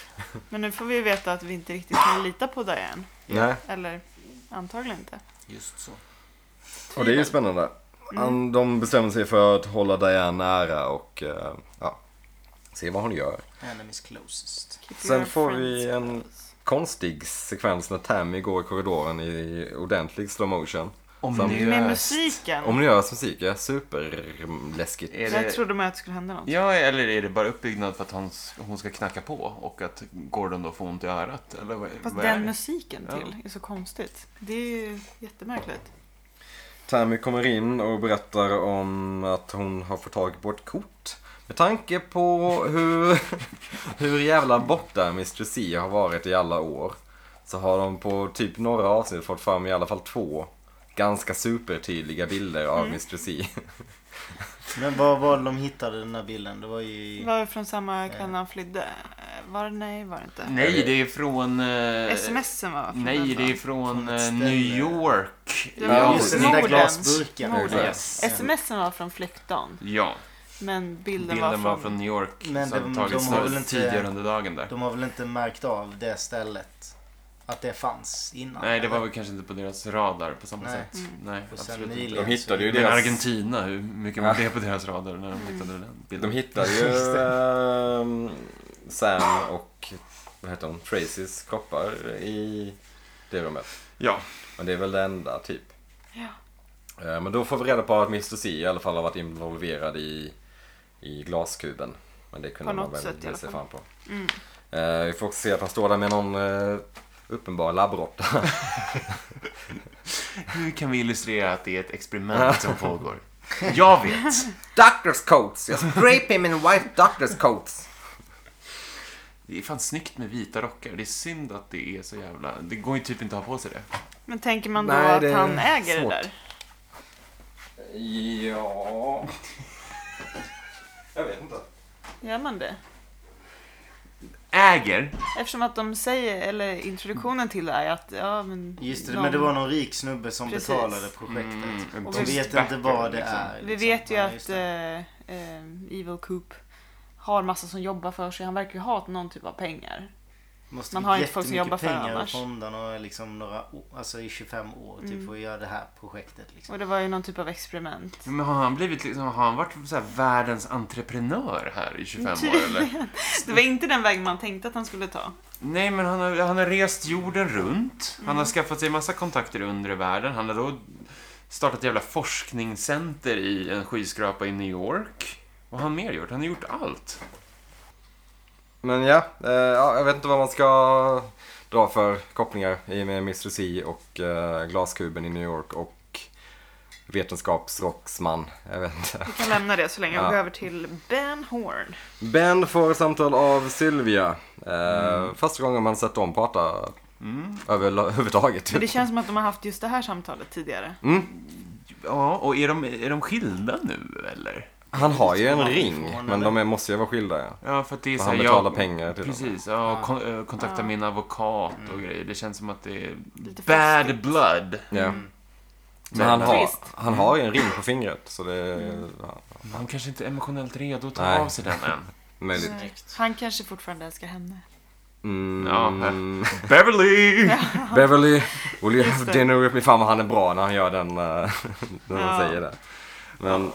Men nu får vi veta att vi inte riktigt kan lita på Diane.
Nej,
Eller antagligen inte.
Just så.
och det är ju spännande. Han, de bestämmer sig för att hålla Diane nära och eh, ja, se vad hon gör.
Enemies closest.
Keep
Sen
your
får
friends
vi en-
close.
konstig sekvens när Tammy går i korridoren i ordentlig slow motion.
Omniöst.
Med musiken.
Om ni gör musik, ja. Superläskigt.
Är
Där
det...
trodde man att det skulle hända något.
Ja, eller är det bara uppbyggnad för att hon, hon ska knacka på och att Gordon då får ont i örat? Eller vad,
Fast
vad är
den
det?
musiken
Ja.
till är så konstigt. Det är ju jättemärkligt.
Tammy kommer in och berättar om att hon har fått tag på ett kort. Med tanke på hur, hur jävla borta Mr. C har varit i alla år. Så har de på typ några avsnitt fått fram i alla fall två ganska supertydliga bilder av Mr. C.
Men vad var det de hittade den här bilden? Det var ju...
Det var ju från samma kväll när han flydde. Var det? Nej, var det inte.
Nej, det är från... eh,
Smsen var från
Nej,
den
det är
dagen.
från
Från ett
eh,
ställe.
New York.
Ja,
Ja,
Just
precis.
den där
Morden.
glasburken.
Morden.
Yes.
Smsen var från flyktdagen.
Ja,
Men bilden,
bilden var från New York.
Men
så
de-
hade
de
tagits
har väl inte-
tidigare under dagen där.
De har väl inte märkt av det stället? Att det fanns innan?
Nej, det var
eller?
väl kanske inte på deras radar på samma
Nej. Mm.
sätt. Nej,
Och sen
absolut inte.
nyligen
De hittade ju
så-
det.
Men
Deras-
Argentina, hur mycket var det på deras radar när
Mm.
de hittade den
De
bilden?
hittar ju ehm, Sam och vad heter hon, Tracys kroppar i det rummet.
Ja,
Men det är väl det enda typ.
Ja.
Eh, Men då får vi reda på att Mr C i alla fall har varit involverad i, i glaskuben. Men det kunde
På
man
något
väl
sätt i
ge
alla
sig
fall. Mm.
fram på. Eh, Vi får också se att han står där med någon eh, uppenbar labbråtta.
hur kan vi illustrera att det är ett experiment som pågår? Jag vet!
Doctor's coats. Just drape him in white doctor's coats.
Det är fan snyggt med vita rockar. Det är synd att det är så jävla... Det går ju typ inte att ha på sig det.
Men tänker man då
Nej, det
att
är
han äger
svårt.
det där?
Ja... Jag vet inte.
Gör man det?
Äger?
Eftersom att de säger, eller introduktionen till det är att, ja men...
Just det,
de-
men det var någon rik snubbe som
Precis.
betalade projektet.
en
De
tyst
vet inte vad det
Mm. liksom.
är.
Vi
liksom.
vet ju
Ja,
att
just det.
eh, eh, Evil Coop har massa som jobbar för sig. Han verkar ju ha någon typ av pengar.
Måste
man
man
har
har
inte folk som jobbar för det
pengar
annars. Mm.
och fonderna liksom några år, alltså i 25 år typ för att göra det här projektet. Liksom.
Och det var ju någon typ av experiment.
Men har han blivit liksom, har han varit så här världens entreprenör här i 25 år eller?
Det var inte den väg man tänkte att han skulle ta.
Nej, men han har, han har rest jorden runt. Han har skaffat sig massa kontakter i undre världen. Han har då startat ett jävla forskningscenter i en skyskrapa i New York. Vad har han mer gjort? Han har gjort allt.
Men ja, eh, ja, jag vet inte vad man ska dra för kopplingar i och med Mr C och eh, glaskuben i New York och vetenskapsrocksman. Jag vet inte.
Vi kan lämna det så länge och
Ja.
gå över till Ben Horn.
Ben får samtal av Sylvia. Eh, Första gången man sett dem prata över, överhuvudtaget. typ.
Men det känns som att de har haft just det här samtalet tidigare.
Ja, och är de, är de skilda nu eller?
Han har ju en
Han är
ring,
förvånad,
men de är, måste ju vara skilda. ja.
Ja, för att det är
För
så här,
han betalar pengar till dem.
Precis, ja, Mm. och kon- eh, kontakta min advokat och grejer. Det känns som att det är
Lite
bad
fustigt.
blood.
Ja. Men
Men
han har,
trist.
han har ju en ring på fingret, så det är ja,
Men Han kanske inte är emotionellt redo att ta
Nej.
av sig den än.
Mm.
möjligt.
Han kanske fortfarande älskar henne.
Mm,
Ja, Beverly!
Beverly, will you
Just
have
det.
dinner with me? Fan vad han är bra när han gör den, eh, när han
Ja.
säger det. Men,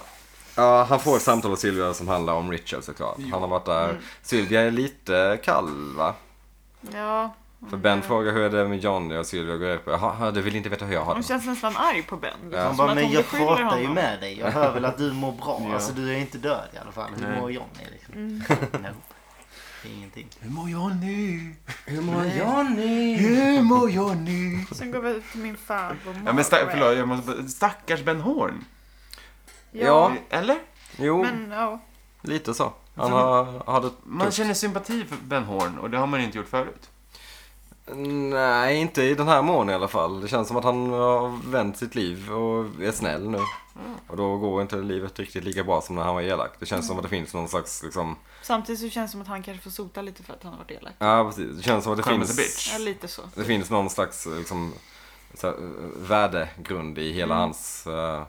ja, han får ett samtal av Sylvia som handlar om Richard såklart. Han har varit där.
Mm.
Sylvia är lite kall va?
Ja.
För Ben frågar hur är det med Johnny och Sylvia går upp. Jaha, jaha, du vill inte veta hur jag har
Hon
det.
känns nästan arg på Ben. Liksom,
Han
som
bara,
att
men
hon
jag
beskyller
pratar ju
honom."
med dig. Jag hör väl att du mår bra.
Ja.
Alltså du är inte död i alla fall. Hur
Nej.
mår Johnny liksom?
Mm.
No. Det är ingenting.
Hur mår jag nu?
Hur mår Johnny?
Hur mår jag nu?
Sen går vi ut till min farbror.
Ja, men stack,
Margaret.
förlåt, jag måste, bara- stackars Ben Horn.
Ja.
Ja,
Eller?
Jo,
men Alltså, ja.
lite så. Han har, hade
Man
tufft.
känner sympati för Ben Horn och det har man inte gjort förut.
Nej, inte i den här mån i alla fall. Det känns som att han har vänt sitt liv och är snäll nu.
Mm.
Och då går inte livet riktigt lika bra som när han var elak. Det känns som att det finns någon slags liksom...
Samtidigt så känns det som att han kanske får sota lite för att han har varit elak.
Ja, precis. Det känns som att det
Karma's a
finns...
bitch.
Ja, lite så.
Det finns någon slags liksom, så här, eh, värdegrund i hela hans eh,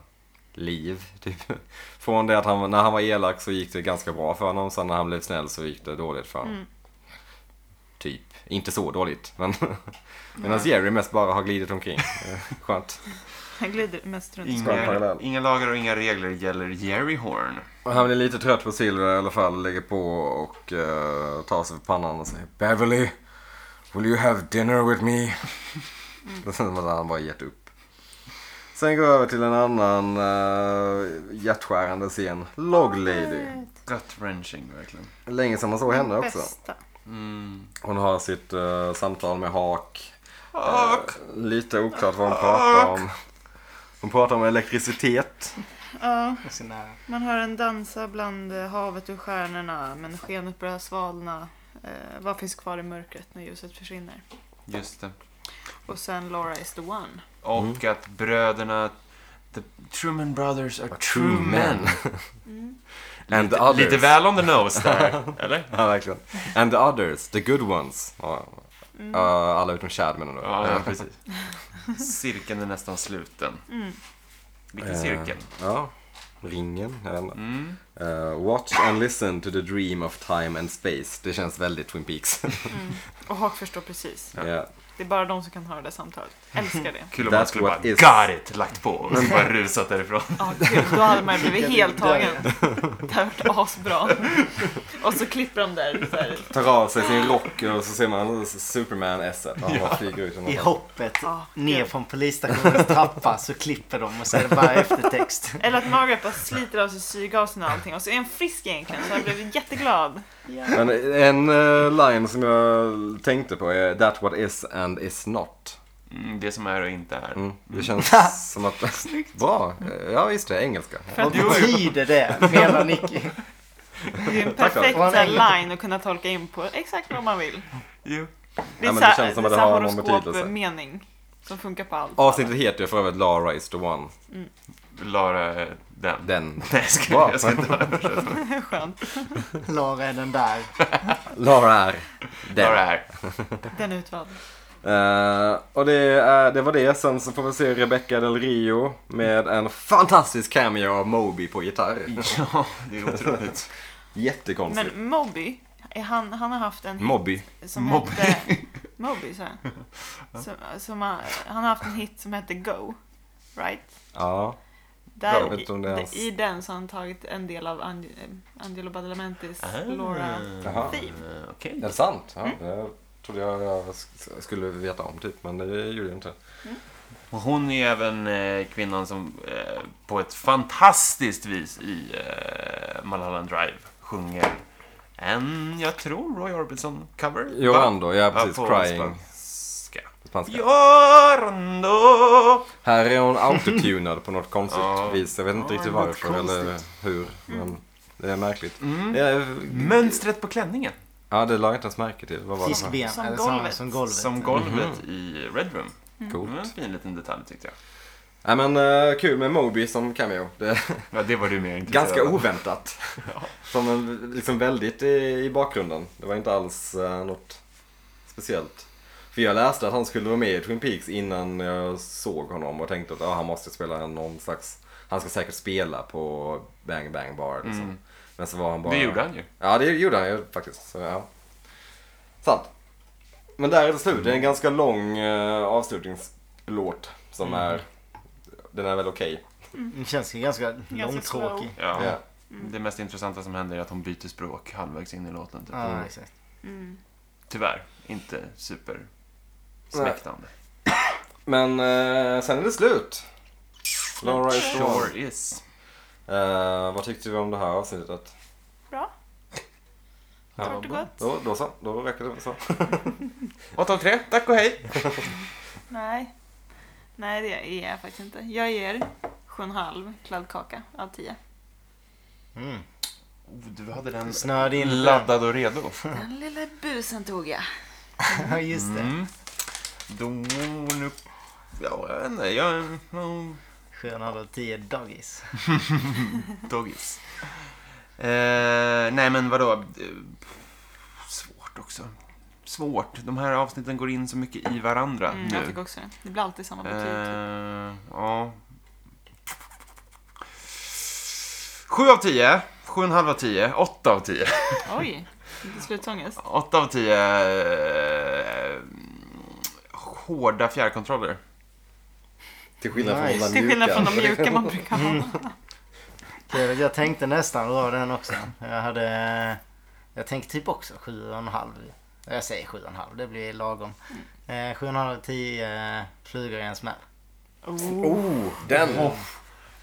liv. Typ. Från det att han, när han var elak så gick det ganska bra för honom. Sen när han blev snäll så gick det dåligt för honom.
Mm.
Typ. Inte så dåligt. Men medan Jerry mest bara har glidit omkring. Eh, Skönt.
Han glider mest runt. i skogen.
Inga,
parallell.
inga lagar och inga regler gäller Jerry Horn.
Och han blir lite trött på Silver i alla fall. Lägger på och eh, tar sig för pannan och säger Beverly, will you have dinner with me? Det känns som att han bara gett upp. Sen går jag över till en annan eh, hjärtskärande scen. Log Lady.
Gut-wrenching, verkligen.
Länge sedan man såg henne också.
Bästa.
Mm.
Hon har sitt eh, samtal med Hak.
Ah.
Eh, lite oklart vad hon pratar om. Hon pratar om elektricitet.
Ja,
Och så nära.
man hör en dansa bland eh, havet och stjärnorna men skenet börjar svalna. Eh, vad finns kvar i mörkret när ljuset försvinner?
Just det.
Och sen Laura is the one.
Och att bröderna... The Truman Brothers are
true
true men.
And the
Lite,
others.
lite väl on the nose där, eller?
Ja, verkligen. And the others, the good ones. Ja. Eh, alla utom Chad menar du?
Ja, ja, precis. Cirkeln är nästan sluten.
Mm.
Vilken
Eh,
cirkel?
Ja. Ringen, jag vet inte.
Mm.
Eh, Watch and listen to the dream of time and space. Det känns väldigt Twin Peaks.
Mm. Och Hawk förstår precis.
Ja.
Det är bara de som kan höra det samtalet. Älskar det.
Kul om man
That's
skulle
what
bara
is- Mm.
got it lagt på och så bara rusat därifrån.
Ja, gud, då hade man ju blivit helt tagen. Det hade varit asbra. Och så klipper de där så här.
Tar av sig sin rock och så ser man Superman-esset. Han bara flyger ut.
I
genom-
hoppet
Ja,
ner
gud.
från polisstationens trappa så klipper de och så är det bara eftertext.
Eller att Margaret bara sliter av sig syrgasen och allting och så är han frisk egentligen så jag blev jätteglad.
Men en eh, line som jag tänkte på är That what is and is not.
Mm, det som är och inte är.
Mm. Det känns som att... Bra! Ja, visst det. Engelska.
Vad betyder det? Menar Nicky.
Det är en
Tack,
perfekt
Anna.
så här, line att kunna tolka in på exakt vad man vill.
Jo.
Det
Ja,
är
men
så
det
här-
känns som att
så
det
här
har någon betydelse.
mening som funkar på allt.
Avsnittet heter ju för övrigt Lara is the one.
Lara är den.
Den.
Nej, jag ska,
Bra.
jag ska inte översätta.
Skönt.
Lara är den där.
Lara är den.
Lara är.
Den är utvald.
Eh, och det, är, det var det. Sen så får vi se Rebecca Del Rio med en fantastisk cameo av Moby på gitarr.
Ja, det är otroligt.
Jättekonstigt.
Men Moby, är han, han har haft en
Mobby.
hit som
Moby.
hette... Moby, så här. Som, som har, han har haft en hit som hette Go. Right?
Ja.
Där,
Jag vet inte om det är
i,
hans-
I den så har han tagit en del av Ang- eh, Angelo Badalamentis
Ah.
Laura.
Jaha.
Theme.
Ah. Eh, Okej.
Är det sant?
Mm.
Ja, Det trodde jag jag sk- skulle veta om typ, men det gjorde jag inte.
Och hon är även eh, kvinnan som eh, på ett fantastiskt vis i eh, Mulholland Drive sjunger en, jag tror, Roy Orbison-cover.
Jorando, ja
Ja,
precis.
på
Crying.
spanska.
på Spanska.
Jorando!
Här är hon autotunad på något konstigt
Ja.
vis. Jag vet inte
Ja,
riktigt
något
varför eller hur. Men det är märkligt.
Mm.
Det är,
Mönstret på klänningen.
ja, det la jag inte ens märke till. Vad var det? för-
Fiskben.
Som
Eller
golvet.
Som golvet.
Som golvet i Red Room. Det var
Coolt.
en fin liten detalj tyckte jag.
Nej men eh, kul med Moby som cameo. Det är
Ja, det var du mer intresserad
ganska
av.
oväntat. Som en, liksom väldigt i, i bakgrunden. Det var inte alls eh, något speciellt. För jag läste att han skulle vara med i Twin Peaks innan jag såg honom och tänkte att ah, han måste spela någon slags... Han ska säkert spela på Bang Bang Bar liksom.
Mm.
Men så var han bara...
Det gjorde han ju.
Ja, det gjorde han ju faktiskt. Så, ja. Sant. Men där är det slut. Det är en ganska lång eh, avslutningslåt som är... Den är väl okej.
Den Mm, känns ju ganska långtråkig.
slow.
Ja.
Ja.
Det mest intressanta som händer är att hon byter språk halvvägs in i låten. Typ.
Ja, exakt.
Mm.
Tyvärr, inte super smäktande.
Men eh, sen är det slut. Laura is gone.
Sure is.
Eh, vad tyckte vi om det här avsnittet?
Bra.
Ja,
Kort och gott.
Då, då så. Då räcker det så.
8 av 3, tack och hej.
Nej. Nej, det är jag faktiskt inte. Jag ger 7,5 kladdkaka av 10.
Mm.
Oh, du hade den
Du snöade in lite.
laddad och redo.
Den lilla busen tog jag.
Ja, just det.
Mm. Då nu... Ja, jag vet inte. Jag är oh,
Skön hade tio doggies.
doggies. Eh, nej, men vadå? Eh, Svårt också. Svårt. De här avsnitten går in så mycket i varandra
Mm,
nu.
jag tycker också det. Det blir alltid samma betyg. typ.
Eh, ja. Sju av tio. Sju och en halv av tio. Åtta av tio.
Oj, lite slutångest.
Åtta av tio eh, hårda fjärrkontroller.
Till skillnad från
Nice.
de där
Till skillnad från de
mjuka.
mjuka man brukar ha.
Okej, Jag tänkte nästan dra den också. Jag hade... Jag tänkte typ också sju och en halv. Jag säger sju och en halv, det blir lagom. Eh, Sju och en halv, tio eh, flugor i en smäll.
Oh, den.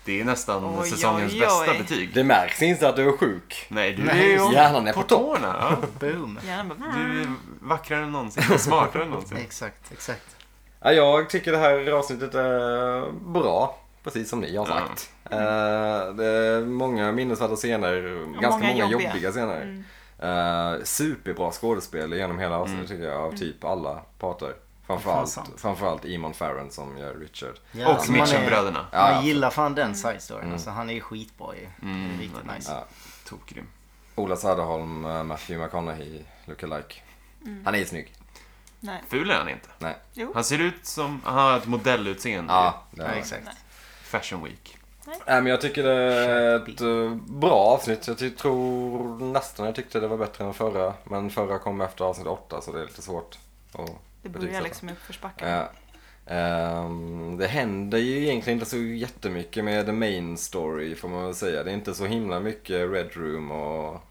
Det är nästan
Oj,
säsongens
oj,
bästa
oj.
betyg.
Det märks inte att du är sjuk.
Nej, du
Nej,
är
hjärnan är
på
på topp.
tårna. Ja.
Boom!
Gärna bara...
Du är vackrare än någonsin och smartare än någonsin.
Exakt, exakt.
Ja, jag tycker det här avsnittet är bra. Precis som ni har sagt. Eh, det är många minnesvärda scener. ganska
många
många jobbiga,
jobbiga.
scener.
Mm.
Eh, superbra skådespel genom hela avsnittet tycker jag. Av
Mm.
typ alla parter. Framförallt,
Mm. Fan,
framförallt Eamon Farren som gör Richard.
Ja,
Och
alltså, man är-
Mitchenbröderna.
Ja,
Man gillar fan den side storyn. Alltså, han är ju skitbra ju.
Mm,
Riktigt
ja.
nice.
Ja.
Tokgrym.
Ola Söderholm, eh, Matthew McConaughey, lookalike.
Mm.
Han är ju snygg.
Nej.
Ful är han inte.
Nej.
Jo.
Han ser ut som... Han har ett modellutseende.
Ja, det är
Ja,
han.
exakt.
Fashion Week.
Nej, men jag tycker det är ett eh, bra avsnitt. Jag ty- tror nästan jag tyckte det var bättre än förra. Men förra kom efter avsnitt åtta så det är lite svårt att
Det börjar
betygsätta.
liksom i uppförsbacken.
Ja. Ehm, det händer ju egentligen inte så jättemycket med the main story får man väl säga. Det är inte så himla mycket Red Room och...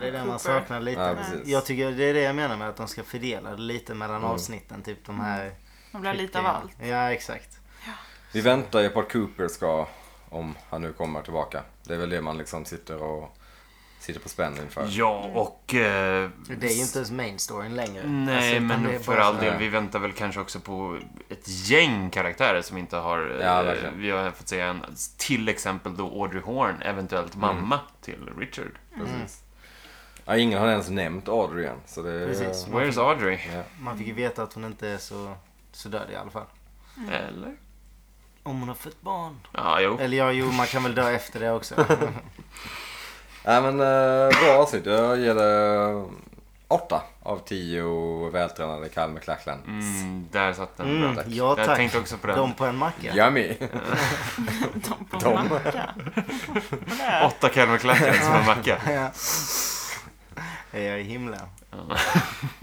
Det är det
Cooper.
man saknar lite.
Ja, precis.
jag tycker det är det jag menar med att de ska fördela det lite mellan
Mm.
avsnitten. Typ de här...
Man blir Mm. lite av allt.
Ja, exakt.
Vi väntar ju på att Cooper ska, om han nu kommer tillbaka. Det är väl det man liksom sitter och sitter på spänn inför.
Ja, och... eh,
Det är ju inte ens main storyn längre. Alltså,
Nej,
utan det är
men för
bara
all
så-
del. Vi väntar väl kanske också på ett gäng karaktärer som inte har... eh,
Ja, verkligen.
vi har fått se en, till exempel då Audrey Horn, eventuellt mamma till Richard.
Mm.
Precis. Ja, ingen har ens nämnt Adrian. Så det är...
Precis.
Where's Audrey?
Man fick ju veta att hon inte är så, så död i alla fall.
Eller?
Om hon har fött barn.
Ja, jo.
Eller ja, jo, man kan väl dö efter det också.
Nej men eh, bra avsnitt. Jag ger det 8 av 10 vältränade Cal McLachlan.
Mm, där satt den.
Mm,
bra.
ja,
jag
tack.
tänkte också på den.
De på en macka.
Yummy!
De på
De.
en macka. Där.
Åtta Calvin Klein som en macka.
Ja. Jag är i himlen.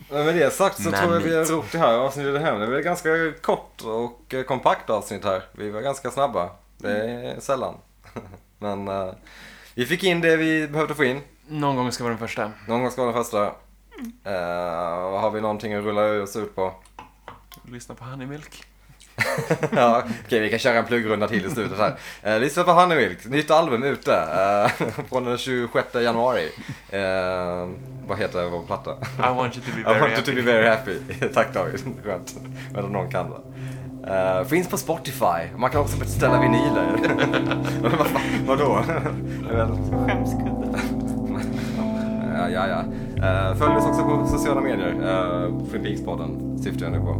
Men med det sagt så
Men
tror jag vi har
mitt.
rott det här avsnittet hem. Det var ett ganska kort och eh, kompakt avsnitt här. Vi var ganska snabba. Det är sällan. men eh, vi fick in det vi behövde få in.
Någon gång ska vara den första.
Någon gång ska vara den första. Eh, har vi någonting att rulla oss ut på?
Lyssna på Honeymilk.
Ja, okej vi kan köra en pluggrunda till i slutet här. Eh, lyssna på Honeymilk, nytt album ute eh, från den 26 januari. Eh, vad heter vår platta?
I want you to be
I
very
want you
happy.
to be very happy. Tack David, skönt. Men om någon kan det. Eh, finns på Spotify, man kan också beställa vinyler. Men vad fan, Vadå? Det är väl-
Skämskudde.
Ja, ja, ja. Eh, Följ oss också på sociala medier. Uh, Freepikspodden syftar jag nu på.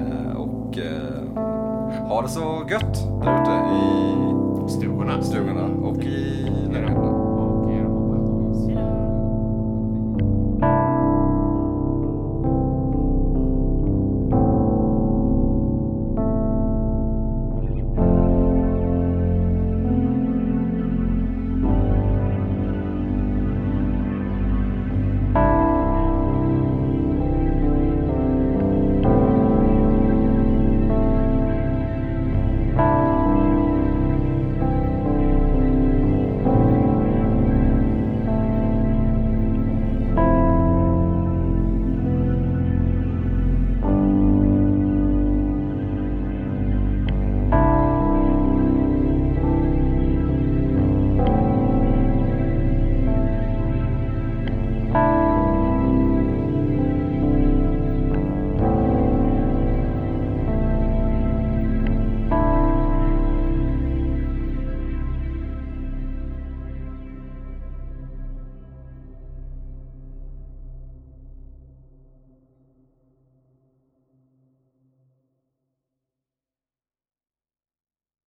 Eh, och eh, ha det så gött där ute i
Stugorna.
stugorna och i...
Era